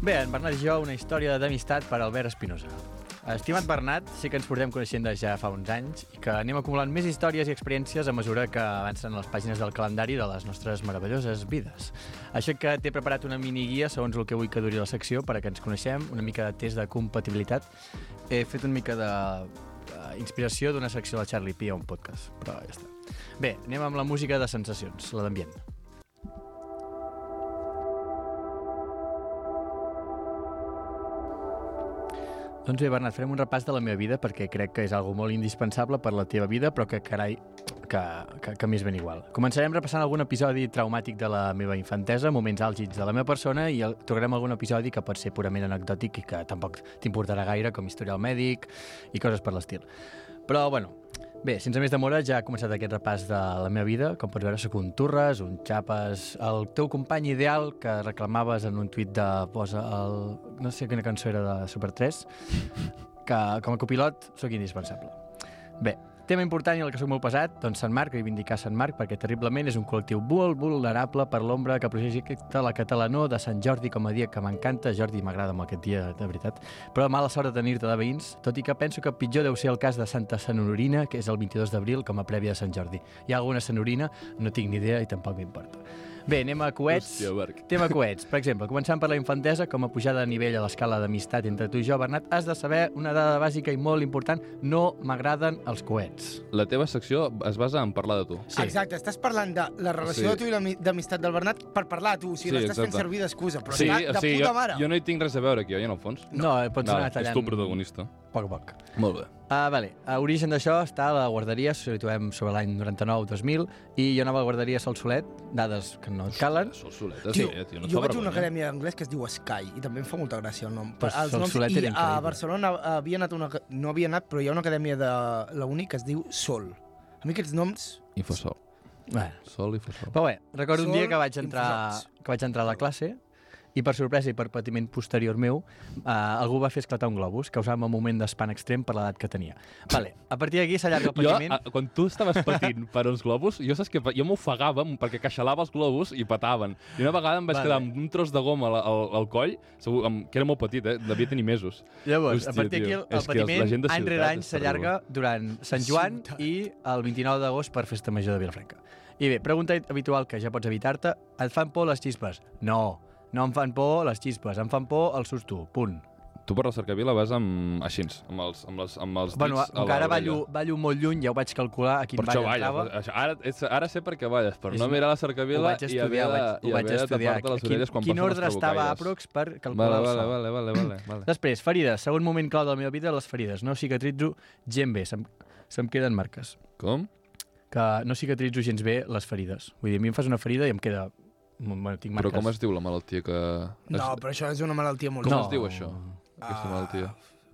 Speaker 1: Bé, en Bernat i jo, una història d'amistat per Albert Espinosa. Estimat Bernat, sí que ens portem coneixent de ja fa uns anys i que anem acumulant més històries i experiències a mesura que avancen les pàgines del calendari de les nostres meravelloses vides. Això que t'he preparat una miniguia segons el que vull que duri la secció perquè ens coneixem, una mica de test de compatibilitat. He fet una mica de eh, inspiració d'una secció de Charlie Pia, un podcast, però ja està. Bé, anem amb la música de sensacions, la d'ambient. Doncs bé, Bernat, farem un repàs de la meva vida perquè crec que és algo molt indispensable per la teva vida, però que, carai, que, que, que m'és ben igual. Començarem repassant algun episodi traumàtic de la meva infantesa, moments àlgids de la meva persona, i el- tocarem algun episodi que pot ser purament anecdòtic i que tampoc t'importarà gaire, com historial mèdic i coses per l'estil. Però, bueno, bé, sense més demora, ja ha començat aquest repàs de la meva vida. Com pots veure, sóc un turres, un xapes, el teu company ideal que reclamaves en un tuit de posa el... no sé quina cançó era de Super 3, que com a copilot sóc indispensable. Bé, tema important i el que sóc molt pesat, doncs Sant Marc, reivindicar Sant Marc, perquè terriblement és un col·lectiu molt vulnerable per l'ombra que projecta la catalanó de Sant Jordi com a dia que m'encanta. Jordi m'agrada molt aquest dia, de veritat. Però mala sort de tenir-te de veïns, tot i que penso que pitjor deu ser el cas de Santa Senorina, que és el 22 d'abril com a prèvia de Sant Jordi. Hi ha alguna Senorina? No tinc ni idea i tampoc m'importa. Bé, anem a coets.
Speaker 2: Hòstia, Marc.
Speaker 1: Tema coets. Per exemple, començant per la infantesa, com a pujada de nivell a l'escala d'amistat entre tu i jo, Bernat, has de saber una dada bàsica i molt important. No m'agraden els coets.
Speaker 2: La teva secció es basa en parlar de tu.
Speaker 5: Sí. Exacte, estàs parlant de la relació
Speaker 2: Sí.
Speaker 5: sí. de tu i l'ami- d'amistat del Bernat per parlar de tu, o sigui,
Speaker 2: Sí,
Speaker 5: sí, l'estàs fent
Speaker 2: exacte.
Speaker 5: servir d'excusa, però sí, està de sí,
Speaker 2: jo,
Speaker 5: puta mare.
Speaker 2: jo no hi tinc res a veure aquí, oi, en el fons?
Speaker 1: No, no pots anar
Speaker 2: és
Speaker 1: tallant...
Speaker 2: tu el protagonista.
Speaker 1: A poc a poc.
Speaker 2: Molt bé.
Speaker 1: Ah, vale. A origen d'això està a la guarderia, si situem sobre l'any 99-2000, i jo anava a la guarderia Sol Solet, dades que no et calen.
Speaker 2: Sol soletes,
Speaker 5: Tio,
Speaker 2: eh, tio, no et
Speaker 5: jo
Speaker 2: fa
Speaker 5: vaig a una
Speaker 2: vergonya?
Speaker 5: acadèmia d'anglès que es diu Sky i també em fa molta gràcia el nom.
Speaker 1: Però
Speaker 5: els
Speaker 1: Sol
Speaker 5: noms,
Speaker 1: Solet
Speaker 5: I
Speaker 1: era
Speaker 5: a
Speaker 1: increïble.
Speaker 5: Barcelona havia anat una, no havia anat, però hi ha una acadèmia de la uni que es diu Sol. A mi aquests noms...
Speaker 2: Infosol.
Speaker 1: Bueno.
Speaker 2: Sol i Infosol.
Speaker 1: Però bé, recordo un
Speaker 5: Sol
Speaker 1: dia que vaig entrar,
Speaker 5: infusats.
Speaker 1: que vaig entrar a la classe i per sorpresa i per patiment posterior meu, eh, algú va fer esclatar un globus, causant-me un moment d'espant extrem per l'edat que tenia. Vale, a partir d'aquí s'allarga el
Speaker 2: Jo,
Speaker 1: patiment.
Speaker 2: a, quan tu estaves patint per uns globus, jo saps que pa- jo m'ofegava m- perquè caixalava els globus i petaven. I una vegada em vaig
Speaker 1: Vale.
Speaker 2: vale. quedar amb un tros de goma al, al, al coll, segur, amb, que era molt petit, eh? devia tenir mesos.
Speaker 1: Llavors,
Speaker 2: Hòstia,
Speaker 1: a partir d'aquí
Speaker 2: tio,
Speaker 1: el,
Speaker 2: és
Speaker 1: el
Speaker 2: que els- la gent
Speaker 1: patiment
Speaker 2: de
Speaker 1: any rere
Speaker 2: ciutat
Speaker 1: any
Speaker 2: és
Speaker 1: s'allarga durant Sant Joan i el 29 d'agost per Festa Major de Vilafranca. I bé, pregunta habitual que ja pots evitar-te. Et fan por les xispes? No, no em fan por les xispes, em fan por el susto, punt.
Speaker 2: Tu per la cercavila vas amb, així, amb els, amb les, amb els dits
Speaker 1: Bueno,
Speaker 2: a
Speaker 1: com que ara
Speaker 2: l'orella.
Speaker 1: ballo, ballo molt lluny, ja ho vaig calcular a quin
Speaker 2: Per això
Speaker 1: ball
Speaker 2: balles.
Speaker 1: entrava.
Speaker 2: Això, ara, és, ara sé per què balles, però
Speaker 1: És-
Speaker 2: no mirar
Speaker 1: Ho
Speaker 2: la cercavila
Speaker 1: vaig
Speaker 2: i haver
Speaker 1: estudiar,
Speaker 2: de,
Speaker 1: ho vaig,
Speaker 2: i
Speaker 1: ho vaig
Speaker 2: haver de
Speaker 1: estudiar.
Speaker 2: tapar-te les
Speaker 1: Quin,
Speaker 2: orelles quan
Speaker 1: quin
Speaker 2: passen les
Speaker 1: ordre estava
Speaker 2: trabucaires.
Speaker 1: aprox per calcular
Speaker 2: Vale,
Speaker 1: el
Speaker 2: vale,
Speaker 1: sol?
Speaker 2: vale, vale, vale, vale.
Speaker 1: Després, ferides. Segon moment clau de la meva vida, les ferides. No cicatritzo gent bé, se'm, se'm queden marques.
Speaker 2: Com?
Speaker 1: que no cicatritzo gens bé les ferides. Vull dir, a mi em fas una ferida i em queda... Bueno, tinc marques. ah.
Speaker 2: Però com es diu la malaltia que...
Speaker 5: No,
Speaker 2: es-
Speaker 5: però això és una malaltia molt...
Speaker 2: Com
Speaker 1: No.
Speaker 2: es diu això? Aquesta malaltia.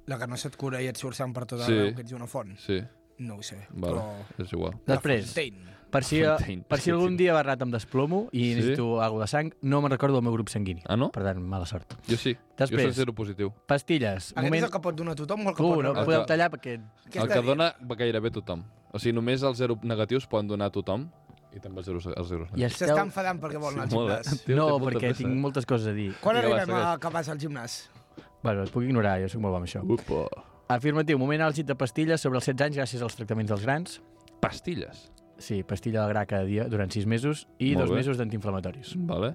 Speaker 5: La que no se't cura i et surt sang per tot
Speaker 2: Sí.
Speaker 5: arreu, que ets una font.
Speaker 2: Sí,
Speaker 5: No ho sé,
Speaker 2: vale,
Speaker 5: però...
Speaker 2: és igual.
Speaker 1: Després,
Speaker 5: Fontaine.
Speaker 1: per si, eh,
Speaker 2: Fontaine.
Speaker 1: per si algun dia, Bernat, em desplomo i
Speaker 2: Sí?
Speaker 1: necessito alguna de sang, no me'n recordo del meu grup sanguini.
Speaker 2: Ah, no?
Speaker 1: Per tant, mala sort.
Speaker 2: Jo sí.
Speaker 1: Després.
Speaker 2: Jo soc zero positiu.
Speaker 1: Pastilles.
Speaker 5: Aquest és el que pot donar tothom o el que
Speaker 1: Tu,
Speaker 5: pot
Speaker 1: no
Speaker 5: rebre?
Speaker 1: podeu
Speaker 2: que-
Speaker 1: tallar perquè...
Speaker 5: Què
Speaker 2: el
Speaker 5: està
Speaker 2: que
Speaker 5: dient?
Speaker 2: dona gairebé tothom. O sigui, només els zero negatius poden donar a tothom i també els zeros, els zeros
Speaker 1: I
Speaker 2: negatius.
Speaker 5: S'està
Speaker 1: esteu...
Speaker 5: enfadant perquè vol anar al
Speaker 2: Molt, eh?
Speaker 5: gimnàs.
Speaker 2: Tio,
Speaker 1: No,
Speaker 2: té molta
Speaker 1: perquè
Speaker 2: pressa,
Speaker 1: tinc
Speaker 2: eh?
Speaker 1: moltes coses a dir.
Speaker 5: Quan
Speaker 2: Vinga, va,
Speaker 5: arribem a
Speaker 2: segueix.
Speaker 5: que vas al gimnàs?
Speaker 1: Bueno, et puc ignorar, jo sóc molt bo amb això.
Speaker 2: Upa.
Speaker 1: Afirmatiu, moment àlgid de pastilles sobre els 16 anys gràcies als tractaments dels grans.
Speaker 2: Pastilles.
Speaker 1: Sí, pastilla de gra cada dia durant 6 mesos i
Speaker 2: Molt
Speaker 1: dos
Speaker 2: bé.
Speaker 1: mesos d'antiinflamatoris.
Speaker 2: Vale.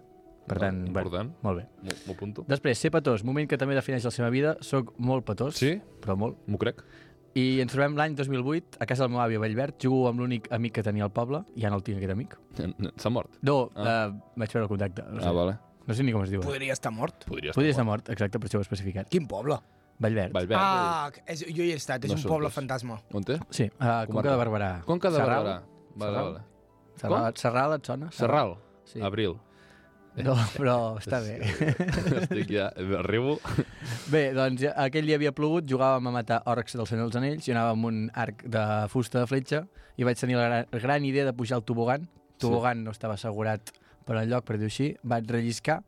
Speaker 1: Per tant, bueno.
Speaker 2: important.
Speaker 1: Molt bé.
Speaker 2: M'ho- M'ho apunto.
Speaker 1: Després, ser petós, moment que també defineix la seva vida. Soc molt petós,
Speaker 2: Sí?
Speaker 1: però molt.
Speaker 2: M'ho crec.
Speaker 1: I ens trobem l'any 2008 a casa del meu avi a Vallverd. Jugo amb l'únic amic que tenia al poble. Ja no el tinc, aquest amic.
Speaker 2: S'ha mort.
Speaker 1: No, ah.
Speaker 2: Ah.
Speaker 1: eh, vaig veure el contacte. No sé,
Speaker 2: Ah, vale.
Speaker 1: no sé ni com es diu.
Speaker 5: Podria estar mort.
Speaker 2: Podria
Speaker 1: Podria estar mort, exacte, per això ho he especificat.
Speaker 5: Quin poble?
Speaker 1: Vallverd.
Speaker 2: Vallverd.
Speaker 5: Ah, és, jo hi he estat, és
Speaker 2: No
Speaker 5: un
Speaker 2: són
Speaker 5: poble
Speaker 2: dos.
Speaker 5: fantasma.
Speaker 2: On té?
Speaker 1: Sí, a Conca de Barberà.
Speaker 2: Conca de
Speaker 1: Sarral?
Speaker 2: Barberà. Vale,
Speaker 1: Serral? Serral,
Speaker 2: vale.
Speaker 1: Serral et sona?
Speaker 2: Serral.
Speaker 1: Sí.
Speaker 2: Abril.
Speaker 1: No, però està bé.
Speaker 2: Estic ja... Arribo.
Speaker 1: Bé, doncs ja- aquell dia havia plogut, jugàvem a matar orcs del Senyor dels Anells, jo anava amb un arc de fusta de fletxa i vaig tenir la gran, gran idea de pujar al tobogan. Tobogan no estava assegurat per enlloc, per dir-ho així. Vaig relliscar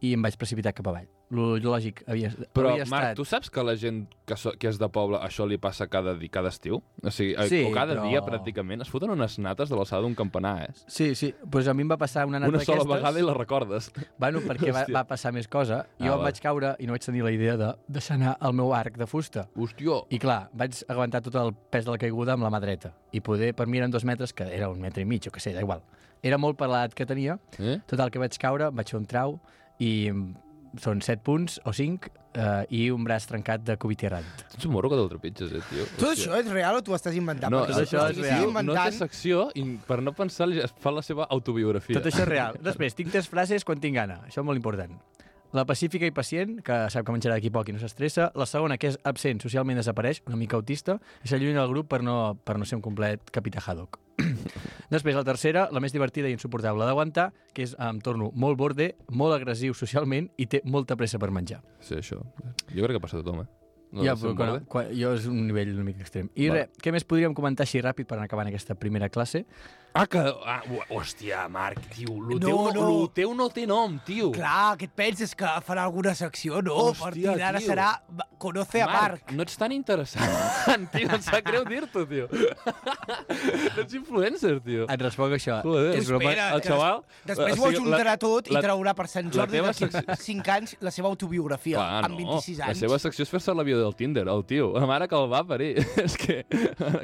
Speaker 1: i em vaig precipitar cap avall. Lo lògic havia,
Speaker 2: Però,
Speaker 1: havia
Speaker 2: Marc,
Speaker 1: estat...
Speaker 2: tu saps que la gent que, so, que és de poble això li passa cada, di, cada estiu? O sigui,
Speaker 1: Sí,
Speaker 2: sí, o cada
Speaker 1: però-
Speaker 2: dia, pràcticament, es foten unes nates de l'alçada d'un campanar, eh?
Speaker 1: Sí, sí, doncs a mi em va passar una nata
Speaker 2: Una sola
Speaker 1: d'aquestes.
Speaker 2: vegada i la recordes.
Speaker 1: Bueno, perquè va,
Speaker 2: Hòstia.
Speaker 1: va passar més cosa. Jo
Speaker 2: Ah,
Speaker 1: em
Speaker 2: va.
Speaker 1: vaig caure i no vaig tenir la idea de deixar anar el meu arc de fusta.
Speaker 2: Hòstia,
Speaker 1: I clar, vaig aguantar tot el pes de la caiguda amb la mà dreta. I poder, per mi eren dos metres, que era un metre i mig, o que sé, da igual. Era molt per l'edat que tenia.
Speaker 2: eh?
Speaker 1: Total, que vaig caure, vaig fer un trau i mm, són 7 punts o 5 eh, i un braç trencat de cubiterant.
Speaker 2: Tu ets un morro que te'l trepitges, eh, tio.
Speaker 5: Tot això és real o t'ho estàs inventant?
Speaker 2: No, eh,
Speaker 5: Perquè
Speaker 2: tot
Speaker 5: si
Speaker 1: això
Speaker 5: t'ho
Speaker 1: és
Speaker 5: estiguessis
Speaker 1: real.
Speaker 2: No té
Speaker 5: Inventant,
Speaker 2: secció i per no pensar li es fa la seva autobiografia.
Speaker 1: Tot això és real. Després, tinc tres frases quan tinc gana. Això és molt important. La pacífica i pacient, que sap que menjarà d'aquí poc i no s'estressa. La segona, que és absent, socialment desapareix, una mica autista, i s'allunya del grup per no, per no ser un complet capità Haddock. Després, la tercera, la més divertida i insuportable d'aguantar, que és, em torno, molt borde, molt agressiu socialment i té molta pressa per menjar.
Speaker 2: Sí, això. Jo crec que passa a tothom, eh? No,
Speaker 1: ja,
Speaker 2: de ser
Speaker 1: però
Speaker 2: un
Speaker 1: quan,
Speaker 2: borde.
Speaker 1: quan, jo és un nivell una mica extrem. I
Speaker 2: Vale.
Speaker 1: res, què més podríem comentar així ràpid per anar acabant aquesta primera classe?
Speaker 2: Ah, que... Ah, hò- hòstia, Marc, tio, lo,
Speaker 5: No,
Speaker 2: teu, no.
Speaker 5: no.
Speaker 2: lo teu no té nom, tio.
Speaker 5: Clar, què et penses? Que farà alguna secció? No,
Speaker 2: Hòstia,
Speaker 5: a partir d'ara
Speaker 2: tio.
Speaker 5: serà... Conoce a Marc.
Speaker 2: no ets tan interessant, tio, em sap greu dir-t'ho, tio. no ets influencer, tio.
Speaker 1: Et responc això.
Speaker 2: Joder.
Speaker 1: Ah, és broma,
Speaker 5: Espera,
Speaker 2: el xaval-
Speaker 5: Després
Speaker 2: o
Speaker 5: ho
Speaker 2: sigui, la-
Speaker 5: ajuntarà tot i
Speaker 2: la-
Speaker 5: traurà per Sant
Speaker 2: la
Speaker 5: Jordi
Speaker 2: teva
Speaker 5: d'aquí
Speaker 2: secció-
Speaker 5: 5 anys la seva autobiografia, amb 26
Speaker 2: La
Speaker 5: anys.
Speaker 2: seva secció és fer-se la vida del Tinder, el tio. La mare que el va parir. és que...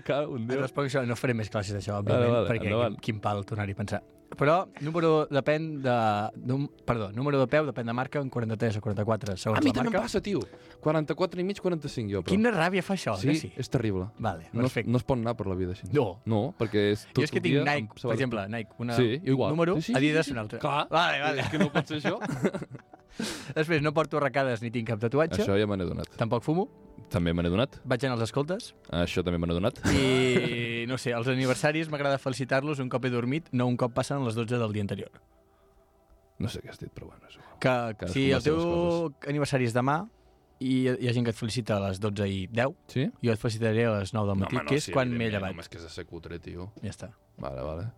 Speaker 2: Cada un
Speaker 1: Et
Speaker 2: diu...
Speaker 1: responc això, no faré més classes d'això, òbviament, vale,
Speaker 2: vale,
Speaker 1: vale, perquè
Speaker 2: endavant.
Speaker 1: quin, quin pal tornar-hi a pensar. Però número depèn de... Num, perdó, número de peu depèn de marca en 43 o 44 segons
Speaker 2: A mi
Speaker 1: la
Speaker 2: també em
Speaker 1: marca.
Speaker 2: passa, tio. 44 i mig, 45 jo, però...
Speaker 1: Quina ràbia fa això,
Speaker 2: Sí,
Speaker 1: que sí?
Speaker 2: és terrible.
Speaker 1: Vale,
Speaker 2: No, es-
Speaker 1: perfecte.
Speaker 2: no es pot anar per la vida així.
Speaker 1: No.
Speaker 2: No, perquè és tot
Speaker 1: Jo és que
Speaker 2: el
Speaker 1: tinc
Speaker 2: dia amb
Speaker 1: Nike, per
Speaker 2: sabates-
Speaker 1: exemple, Nike, una,
Speaker 2: Sí, jo igual.
Speaker 1: número,
Speaker 2: Sí, sí, sí,
Speaker 1: Adidas
Speaker 2: sí, sí.
Speaker 1: una altra.
Speaker 2: Clar.
Speaker 1: Vale, vale.
Speaker 2: És que no pot ser això.
Speaker 1: Després, no porto arracades ni tinc cap tatuatge,
Speaker 2: això ja me n'he donat.
Speaker 1: tampoc fumo,
Speaker 2: També me n'he donat.
Speaker 1: vaig anar als escoltes
Speaker 2: Això també me n'he donat.
Speaker 1: i, no sé, els aniversaris m'agrada felicitar-los un cop he dormit, no un cop passen les 12 del dia anterior.
Speaker 2: No sé què has dit, però bueno, és igual.
Speaker 1: Que
Speaker 2: Cadascú
Speaker 1: si
Speaker 2: amb
Speaker 1: el
Speaker 2: les
Speaker 1: teu
Speaker 2: seves
Speaker 1: aniversari és demà i hi ha gent que et felicita a les 12 i 10,
Speaker 2: Sí?
Speaker 1: Jo et felicitaré a les 9 del matí, no,
Speaker 2: home,
Speaker 1: que és quan m'he
Speaker 2: evidentment,
Speaker 1: llevat.
Speaker 2: Home, és que és de ser cutre, tio.
Speaker 1: Ja està.
Speaker 2: Vale, vale.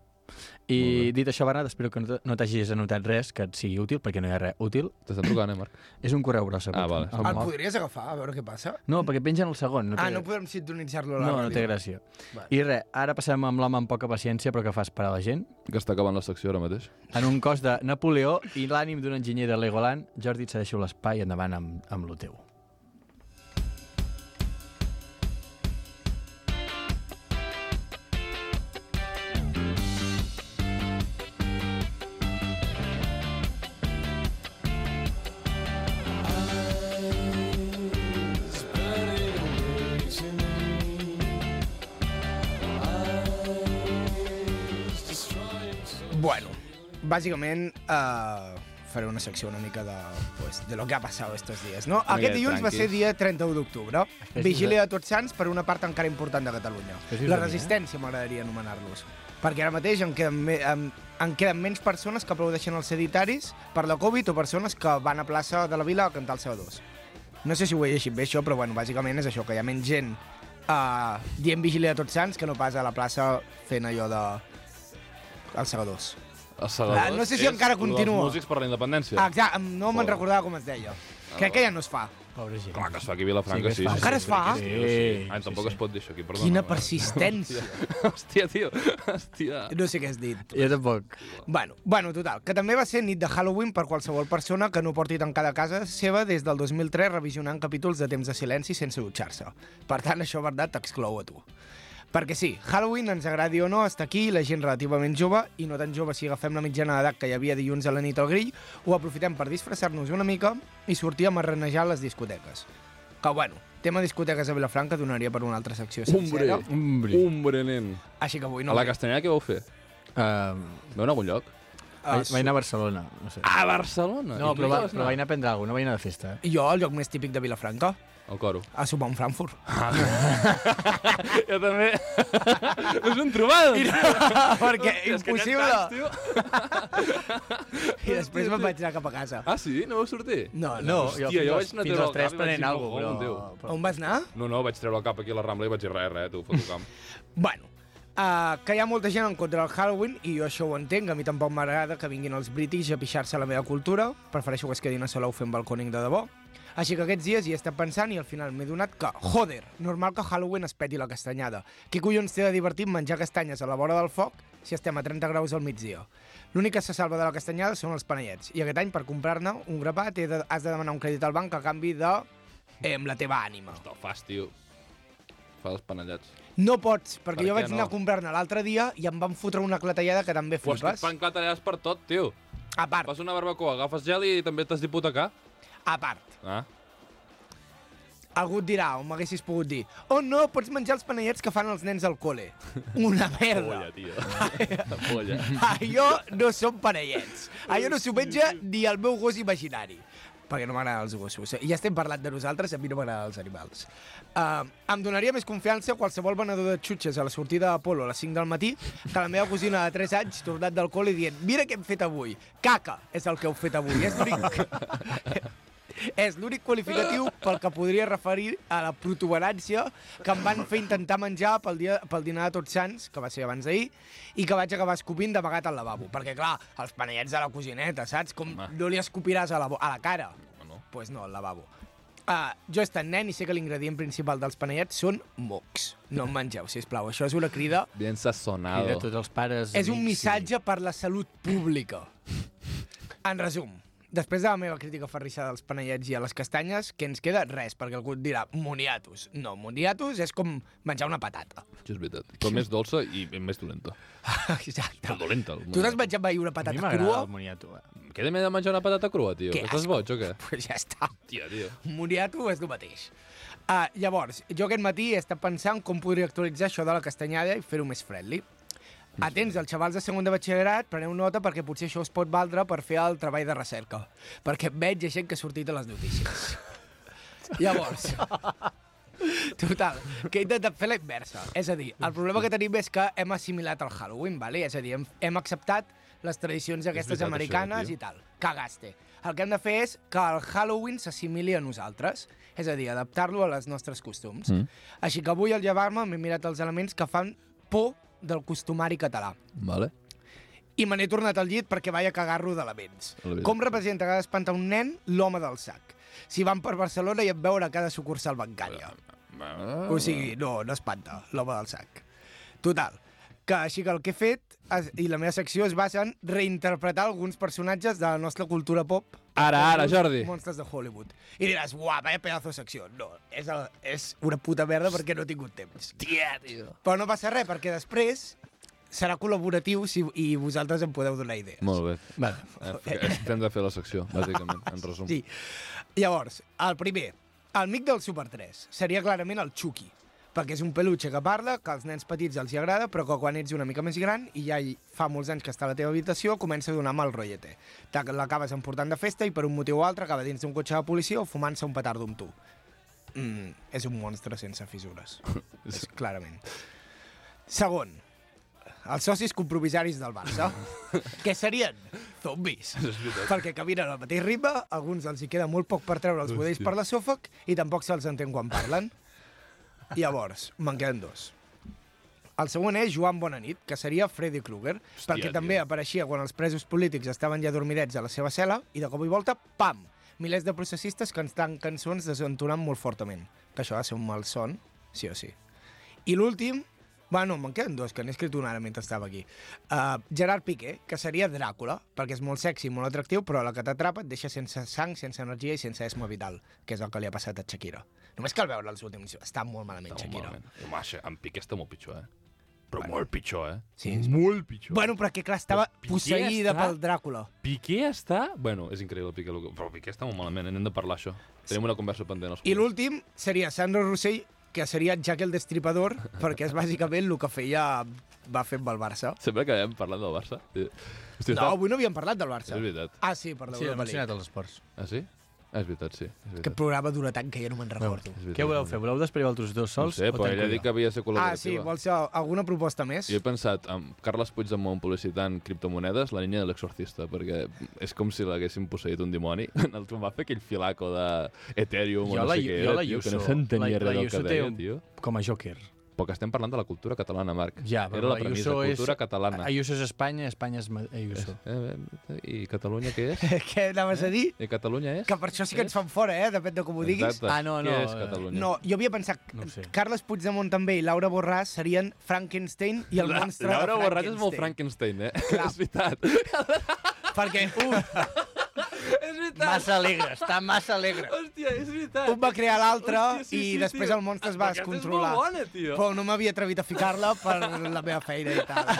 Speaker 1: I dit això, Bernat, espero que no t- no t'hagis anotat res que et sigui útil, perquè no hi ha res útil.
Speaker 2: T'estan trucant, eh, Marc?
Speaker 1: És un correu gros,
Speaker 2: Ah, vale.
Speaker 1: El
Speaker 5: El
Speaker 1: mòbil.
Speaker 5: podries agafar, a veure què passa?
Speaker 1: No, perquè pengen el segon. No
Speaker 5: Ah,
Speaker 1: té-
Speaker 5: no podem sintonitzar-lo a la
Speaker 1: no, no té
Speaker 5: ràdio.
Speaker 1: gràcia. I res, ara passem amb l'home amb poca paciència, però que fa esperar la gent,
Speaker 2: Que està acabant la secció ara
Speaker 5: Ah,
Speaker 2: mateix.
Speaker 1: en un cos de Napoleó i l'ànim d'un enginyer de Legoland. Jordi, et cedeixo l'espai endavant amb, amb lo teu.
Speaker 5: Bueno, bàsicament eh, faré una secció una mica de, pues, de lo que ha passat estos dies, no?
Speaker 2: Una mica
Speaker 5: Aquest dilluns va
Speaker 2: tranquis.
Speaker 5: ser dia 31 d'octubre.
Speaker 1: us-
Speaker 5: Vigília de Tots Sants per una part encara important de Catalunya.
Speaker 1: Després us
Speaker 5: La
Speaker 1: donem, eh?
Speaker 5: resistència m'agradaria anomenar-los. Perquè ara mateix en queden, me, en, en queden menys persones que aplaudeixen els seditaris per la Covid o persones que van a plaça de la Vila a cantar el CO2. No sé si ho he llegit bé, això, però bueno, bàsicament és això, que hi ha menys gent uh, dient Vigília de Tots Sants que no pas a la plaça fent allò de... El CO2.
Speaker 2: Els Segadors
Speaker 5: Ah, no sé si encara
Speaker 2: és
Speaker 5: continua.
Speaker 2: Els músics per la independència.
Speaker 5: Ah, exacte, no me'n
Speaker 2: Pobre.
Speaker 5: recordava com es deia. Crec que ja no es fa.
Speaker 1: Pobre gent.
Speaker 2: Clar que es fa aquí a Vilafranca,
Speaker 1: Sí
Speaker 2: sí.
Speaker 1: que es fa.
Speaker 2: sí,
Speaker 5: Encara
Speaker 2: sí,
Speaker 5: es fa?
Speaker 2: Sí, sí,
Speaker 1: Sí,
Speaker 2: Ai, tampoc
Speaker 1: sí, sí.
Speaker 2: es pot dir això aquí, perdona.
Speaker 5: Quina
Speaker 2: Marc.
Speaker 5: persistència.
Speaker 2: Hòstia, tio. Hòstia.
Speaker 5: No sé què has dit.
Speaker 1: Jo tampoc.
Speaker 5: Bueno, bueno, total, que també va ser nit de Halloween per qualsevol persona que no porti tancada a casa seva des del 2003 revisionant capítols de temps de silenci sense dutxar-se. Per tant, això, Bernat, t'exclou a tu. Perquè sí, Halloween, ens agradi o no, està aquí, la gent relativament jove, i no tan jove si agafem la mitjana d'edat que hi havia dilluns a la nit al grill, ho aprofitem per disfressar-nos una mica i sortir a marranejar a les discoteques. Que, bueno, tema discoteques a Vilafranca donaria per una altra secció
Speaker 2: Hombre.
Speaker 5: sencera,
Speaker 1: Hombre. eh.
Speaker 2: Hombre, nen.
Speaker 5: així que avui
Speaker 2: A
Speaker 5: no...
Speaker 2: la castellana què vau fer?
Speaker 1: Uh,
Speaker 2: Vau anar a algun lloc?
Speaker 5: Ah,
Speaker 1: vaig anar a Barcelona, no sé.
Speaker 2: A Barcelona?
Speaker 1: No,
Speaker 2: Ah,
Speaker 1: però,
Speaker 2: I tu
Speaker 1: va,
Speaker 2: vas
Speaker 1: però vaig anar a prendre alguna, no vaig anar de festa. eh?
Speaker 5: Jo, el lloc més típic de Vilafranca,
Speaker 2: Al coro.
Speaker 5: a sopar un Frankfurt.
Speaker 2: Jo també. És un trobado.
Speaker 5: perquè impossible.
Speaker 2: tio.
Speaker 5: I després me'n vaig anar cap a casa.
Speaker 2: Ah, sí? No vau sortir?
Speaker 5: No, no.
Speaker 1: No,
Speaker 2: Hòstia,
Speaker 1: fins
Speaker 2: jo
Speaker 1: als-
Speaker 2: vaig anar a
Speaker 1: fins
Speaker 2: treure
Speaker 1: als
Speaker 2: el
Speaker 1: 3
Speaker 2: cap i vaig
Speaker 1: prenent
Speaker 2: dir,
Speaker 1: alguna
Speaker 2: "Oh,
Speaker 1: cosa,
Speaker 2: bon
Speaker 1: però...
Speaker 2: Déu".
Speaker 1: però-
Speaker 5: On vas anar?
Speaker 2: No, no, vaig treure el cap aquí a la Rambla i vaig dir res, res, tu, foto camp.
Speaker 5: Bueno, uh, que hi ha molta gent en contra del Halloween i jo això ho entenc, a mi tampoc m'agrada que vinguin els british a pixar-se la meva cultura, prefereixo que es quedin a Salou fent balconing de debò. Així que aquests dies hi he estat pensant i al final m'he donat que, joder, normal que Halloween es peti la castanyada. Què collons té de divertit menjar castanyes a la vora del foc si estem a 30 graus al migdia? L'únic que se salva de la castanyada són els panellets. I aquest any, per comprar-ne un grapat, he de, has de demanar un crèdit al banc a canvi de... Eh, amb la teva ànima.
Speaker 2: No fas, tio. Fa els panellats.
Speaker 5: No pots, perquè
Speaker 2: Per
Speaker 5: jo
Speaker 2: què
Speaker 5: vaig anar
Speaker 2: no?
Speaker 5: a comprar-ne l'altre dia i em van fotre una clatellada que també
Speaker 2: Però és que et
Speaker 5: flipes.
Speaker 2: fan clatellades per tot, tio.
Speaker 5: A part,
Speaker 2: Fas una barbacoa, agafes gel i també t'has d'hipotecar.
Speaker 5: a part,
Speaker 2: Ah,
Speaker 5: algú et dirà, o m'haguessis pogut dir, oh no, pots menjar els panellets que fan els nens al col·le. Una merda.
Speaker 2: polla, tio. polla.
Speaker 5: Allò no són panellets. Allò no s'ho menja ni el meu gos imaginari. Perquè no m'agraden els gossos. Ja estem parlant de nosaltres, a mi no m'agraden els animals. Uh, em donaria més confiança qualsevol venedor de xutxes a la sortida de Polo a les 5 del matí que la meva cosina de 3 anys tornat del col·le dient mira què hem fet avui. Caca és el que heu fet avui. És l'únic... És l'únic qualificatiu pel que podria referir a la protuberància que em van fer intentar menjar pel, dia, pel dinar de Tots Sants, que va ser abans d'ahir, i que vaig acabar escopint d'amagat al lavabo. Perquè, clar, els panellets de la cosineta, saps? Com no li escopiràs a la, bo- a la cara?
Speaker 2: no.
Speaker 5: pues no, al lavabo. Uh, jo he estat nen i sé que l'ingredient principal dels panellets són mocs. No en mengeu, sisplau. Això és una crida.
Speaker 2: Bien
Speaker 1: I de
Speaker 2: sazonado.
Speaker 1: tots els pares...
Speaker 5: És un
Speaker 1: amics i-
Speaker 5: missatge per la salut pública. En resum, després de la meva crítica ferrissada als panellets i a les castanyes, que ens queda? Res, perquè algú et dirà moniatos. No, moniatos és com menjar una patata.
Speaker 2: Això és veritat. Però més dolça i més dolenta.
Speaker 5: Exacte.
Speaker 2: Però dolenta. el
Speaker 5: Tu
Speaker 2: moniato.
Speaker 5: t'has menjat mai una
Speaker 1: A mi
Speaker 5: patata
Speaker 1: m'agrada
Speaker 5: crua?
Speaker 1: el moniato. eh?
Speaker 2: Què de de menjar una patata crua, tio?
Speaker 5: Que
Speaker 2: Estàs
Speaker 5: asco.
Speaker 2: boig o què?
Speaker 5: Pues ja està.
Speaker 2: Tia, tio.
Speaker 5: Moniato és el mateix. Uh, llavors, jo aquest matí he estat pensant com podria actualitzar això de la castanyada i fer-ho més friendly. Atents, els xavals de segon de batxillerat, preneu nota perquè potser això us pot valdre per fer el treball de recerca. Perquè veig hi ha gent que ha sortit a les notícies. Llavors, Total, que he intentat fer la inversa. És a dir, el problema que tenim és que hem assimilat el Halloween, vale? és a dir, hem, hem acceptat les tradicions aquestes
Speaker 2: veritat,
Speaker 5: americanes
Speaker 2: això, eh? tio.
Speaker 5: i tal. Cagaste. El que hem de fer és que el Halloween s'assimili a nosaltres, és a dir, adaptar-lo a les nostres costums. Mm. Així que avui, al llevar-me, m'he mirat els elements que fan por del costumari català.
Speaker 2: Vale.
Speaker 5: i me n'he tornat al llit perquè vaig a cagar-lo d'elements.
Speaker 2: A la vida.
Speaker 5: Com representa que ha d'espantar un nen l'home del sac? Si van per Barcelona i et veuen a cada sucursal bancària.
Speaker 2: Ah.
Speaker 5: O sigui, no, no espanta, l'home del sac. Total, que així que el que he fet es- i la meva secció es basa en reinterpretar alguns personatges de la nostra cultura pop.
Speaker 2: Ara, ara, Jordi.
Speaker 5: Monstres de Hollywood. I diràs, uah, vaya pedazo de secció. No, és, el, és una puta merda perquè no he tingut temps.
Speaker 2: Tia, tio.
Speaker 5: Però no passa res, perquè després serà col·laboratiu si, i vosaltres em podeu donar idees.
Speaker 2: Molt bé.
Speaker 1: Vale.
Speaker 2: Eh, Estem de fer la secció, bàsicament, en resum.
Speaker 5: Sí. Llavors, el primer, el mic del Super 3 seria clarament el Chucky, perquè és un peluche que parla, que als nens petits els hi agrada, però que quan ets una mica més gran i ja hi fa molts anys que està a la teva habitació, comença a donar mal rotllete. Te- L'acabes emportant de festa i per un motiu o altre acaba dins d'un cotxe de policia o fumant-se un petardo amb tu. Mm, és un monstre sense fissures. és, clarament. Segon, els socis compromisaris del Barça, que serien zombis, perquè caminen al mateix ritme, alguns els hi queda molt poc per treure els budells per l'esòfag i tampoc se'ls entén quan parlen. Llavors, me'n queden dos. El següent és Joan Bonanit, que seria Freddy Krueger, perquè
Speaker 2: tio.
Speaker 5: també apareixia quan els presos polítics estaven ja dormidets a la seva cel·la i de cop i volta, pam, milers de processistes que ens tan cançons desentonant molt fortament. Que això ha de ser un malson, sí o sí. I l'últim, bueno, me'n queden dos, que n'he escrit un ara mentre estava aquí. Uh, Gerard Piqué, que seria Dràcula, perquè és molt sexy, molt atractiu, però a la que t'atrapa et deixa sense sang, sense energia i sense esma vital, que és el que li ha passat a Shakira. Només cal veure els últims, està molt malament
Speaker 2: Està molt
Speaker 5: Shakira.
Speaker 2: malament. Home, això, en Piqué està molt pitjor, eh? Però molt pitjor, eh?
Speaker 5: Sí, és-
Speaker 2: molt pitjor.
Speaker 5: Bueno, perquè clar, estava
Speaker 2: Piqué
Speaker 5: posseïda
Speaker 2: està-
Speaker 5: pel Dràcula.
Speaker 2: Piqué està... Bueno, és increïble, Piqué. el que- Però Piqué està molt malament, eh? n'hem de parlar, això. Tenim una conversa pendent. els
Speaker 5: I
Speaker 2: colons.
Speaker 5: l'últim seria Sandro Rossell, que seria Jack el Destripador, perquè és bàsicament el que feia va fer amb el Barça.
Speaker 2: Sempre que hem parlat del Barça. eh, Hòstia,
Speaker 5: No, avui no havíem parlat del Barça.
Speaker 2: És veritat.
Speaker 5: Ah, sí, per
Speaker 1: Sí, hem
Speaker 5: l'Europa
Speaker 1: mencionat
Speaker 5: League.
Speaker 1: els esports.
Speaker 2: Ah, sí? Ah, és veritat, sí. És veritat.
Speaker 5: Aquest programa dura tant que jo no me'n recordo.
Speaker 2: És veritat.
Speaker 1: Què voleu fer? Voleu despedir altres dos
Speaker 2: No ho
Speaker 1: sols?
Speaker 2: sé,
Speaker 1: o
Speaker 2: però ell ha
Speaker 1: tanco
Speaker 2: dit
Speaker 1: jo?
Speaker 2: que havia de ser
Speaker 5: Ah,
Speaker 2: col·laborativa.
Speaker 5: sí, vols eh, alguna proposta més?
Speaker 2: Jo he pensat, amb Carles Puigdemont publicitant criptomonedes, la línia de l'exorcista, perquè és com si l'haguessin posseït un dimoni. El Tom va fer aquell filaco de Ethereum
Speaker 1: Jo
Speaker 2: o no
Speaker 1: la,
Speaker 2: sé què
Speaker 1: jo
Speaker 2: era,
Speaker 1: la
Speaker 2: tio, que
Speaker 1: Yuso,
Speaker 2: no s'entenia
Speaker 1: la, la
Speaker 2: res del
Speaker 1: Yuso
Speaker 2: que
Speaker 1: té
Speaker 2: deia,
Speaker 1: un,
Speaker 2: tio.
Speaker 1: com a Joker.
Speaker 2: Però que estem parlant de la cultura catalana, Marc.
Speaker 1: Ja, però
Speaker 2: era la
Speaker 1: la
Speaker 2: premissa,
Speaker 1: Yuso és...
Speaker 2: cultura catalana.
Speaker 1: Ayuso és Espanya, Espanya és Ma- Ayuso.
Speaker 2: Eh, eh, I Catalunya què és?
Speaker 5: Què anaves
Speaker 2: Eh?
Speaker 5: a dir?
Speaker 2: I Catalunya és?
Speaker 5: Que per això sí que ens fan fora, eh? Depèn de com ho diguis.
Speaker 2: Exacte.
Speaker 1: Ah, no, no,
Speaker 2: Què és
Speaker 1: eh,
Speaker 2: Catalunya?
Speaker 5: No, jo havia pensat
Speaker 1: No ho
Speaker 5: que
Speaker 1: sé.
Speaker 5: Carles Puigdemont també i Laura Borràs serien Frankenstein i el
Speaker 2: La,
Speaker 5: monstre
Speaker 2: Laura
Speaker 5: de
Speaker 2: Borràs és molt
Speaker 5: Frankenstein.
Speaker 2: Frankenstein, eh?
Speaker 5: Clar.
Speaker 2: és veritat.
Speaker 5: Perquè un,
Speaker 1: Massa alegre, està massa alegre.
Speaker 2: Hòstia, és veritat.
Speaker 5: un va crear l'altre
Speaker 2: Hòstia, sí,
Speaker 5: i
Speaker 2: sí,
Speaker 5: després
Speaker 2: tio.
Speaker 5: el monstre es va
Speaker 2: Aquesta és molt
Speaker 5: descontrolar.
Speaker 2: bona, tio.
Speaker 5: Però no m'havia atrevit a ficar-la per la meva feina i tal.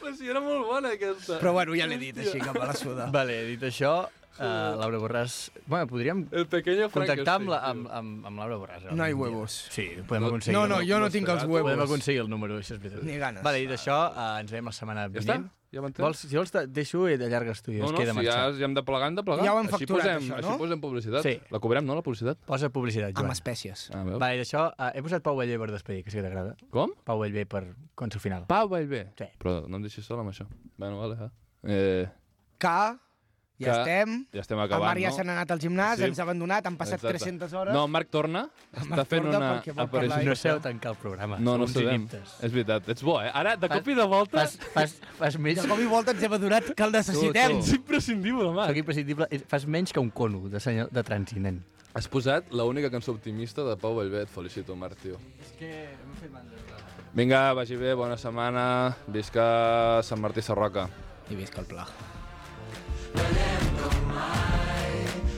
Speaker 2: Però sí, era molt bona aquesta.
Speaker 5: Però bueno, ja l'he dit així, que me la suda.
Speaker 1: Vale, dit això, uh, Laura Borràs... Bueno, podríem
Speaker 2: El pequeño
Speaker 1: contactar amb, la,
Speaker 2: Frankenstein,
Speaker 1: amb, amb, amb Laura Borràs. eh,
Speaker 5: No hi
Speaker 1: algun dia.
Speaker 5: huevos.
Speaker 1: Sí, podem aconseguir.
Speaker 5: No, no, jo no tinc els
Speaker 1: Podem
Speaker 5: huevos.
Speaker 1: aconseguir el número, això és veritat.
Speaker 5: Ni ganes.
Speaker 1: Vale, dit això, uh, ens veiem la setmana
Speaker 2: tio. Ja està?
Speaker 1: vinent.
Speaker 2: Ja m'entens?
Speaker 1: Vols, si vols, te- deixo i t'allargues tu i
Speaker 2: No,
Speaker 1: es
Speaker 2: no,
Speaker 1: queda
Speaker 2: si ja,
Speaker 1: marxat.
Speaker 2: ja hem de plegar, hem de plegar.
Speaker 5: Ja ho hem
Speaker 2: Així
Speaker 5: facturat,
Speaker 2: posem,
Speaker 5: això, no?
Speaker 2: Així posem publicitat.
Speaker 1: Sí.
Speaker 2: La cobrem, no, la publicitat?
Speaker 1: Posa publicitat, Joan.
Speaker 5: Amb espècies.
Speaker 2: Ah, veus?
Speaker 1: Vale, d'això, uh, he posat Pau Bellver per despedir, que sí que t'agrada.
Speaker 2: Com?
Speaker 1: Pau Bellver per contra final.
Speaker 2: Pau Vallbé.
Speaker 1: Sí.
Speaker 2: Però no em deixis sol amb això. Bueno, vale, eh? eh
Speaker 5: Que ja
Speaker 2: Que
Speaker 5: estem.
Speaker 2: ja estem
Speaker 5: El
Speaker 2: acabant,
Speaker 5: Marc ja
Speaker 2: no?
Speaker 5: se n'ha anat al gimnàs,
Speaker 2: Sí.
Speaker 5: ens ha abandonat, han passat
Speaker 2: Exacte.
Speaker 5: 300 hores.
Speaker 2: No, Marc torna. Està fent
Speaker 5: torna
Speaker 2: una
Speaker 5: perquè vol parlar
Speaker 2: aparició.
Speaker 1: No sé on tancar el programa.
Speaker 2: No, no
Speaker 1: Som uns
Speaker 2: sabem.
Speaker 1: ineptes.
Speaker 2: És veritat, ets bo, eh? Ara, de
Speaker 1: Fas-
Speaker 2: cop i de volta,
Speaker 1: Fas, fas, fas més...
Speaker 5: De cop i volta ens hem adonat que el necessitem.
Speaker 2: ets imprescindible,
Speaker 1: Soc
Speaker 2: Marc.
Speaker 1: imprescindible. Fas menys que un cono de, senyor, de trànsit, nen.
Speaker 2: Has posat l'única cançó optimista de Pau Vallbé. Et felicito, Marc, tio.
Speaker 1: És que m'he fet mandra.
Speaker 2: Vinga, vagi bé, bona setmana. Visca Sant Martí Sarroca.
Speaker 5: I visca el pla.
Speaker 7: Anem com mai,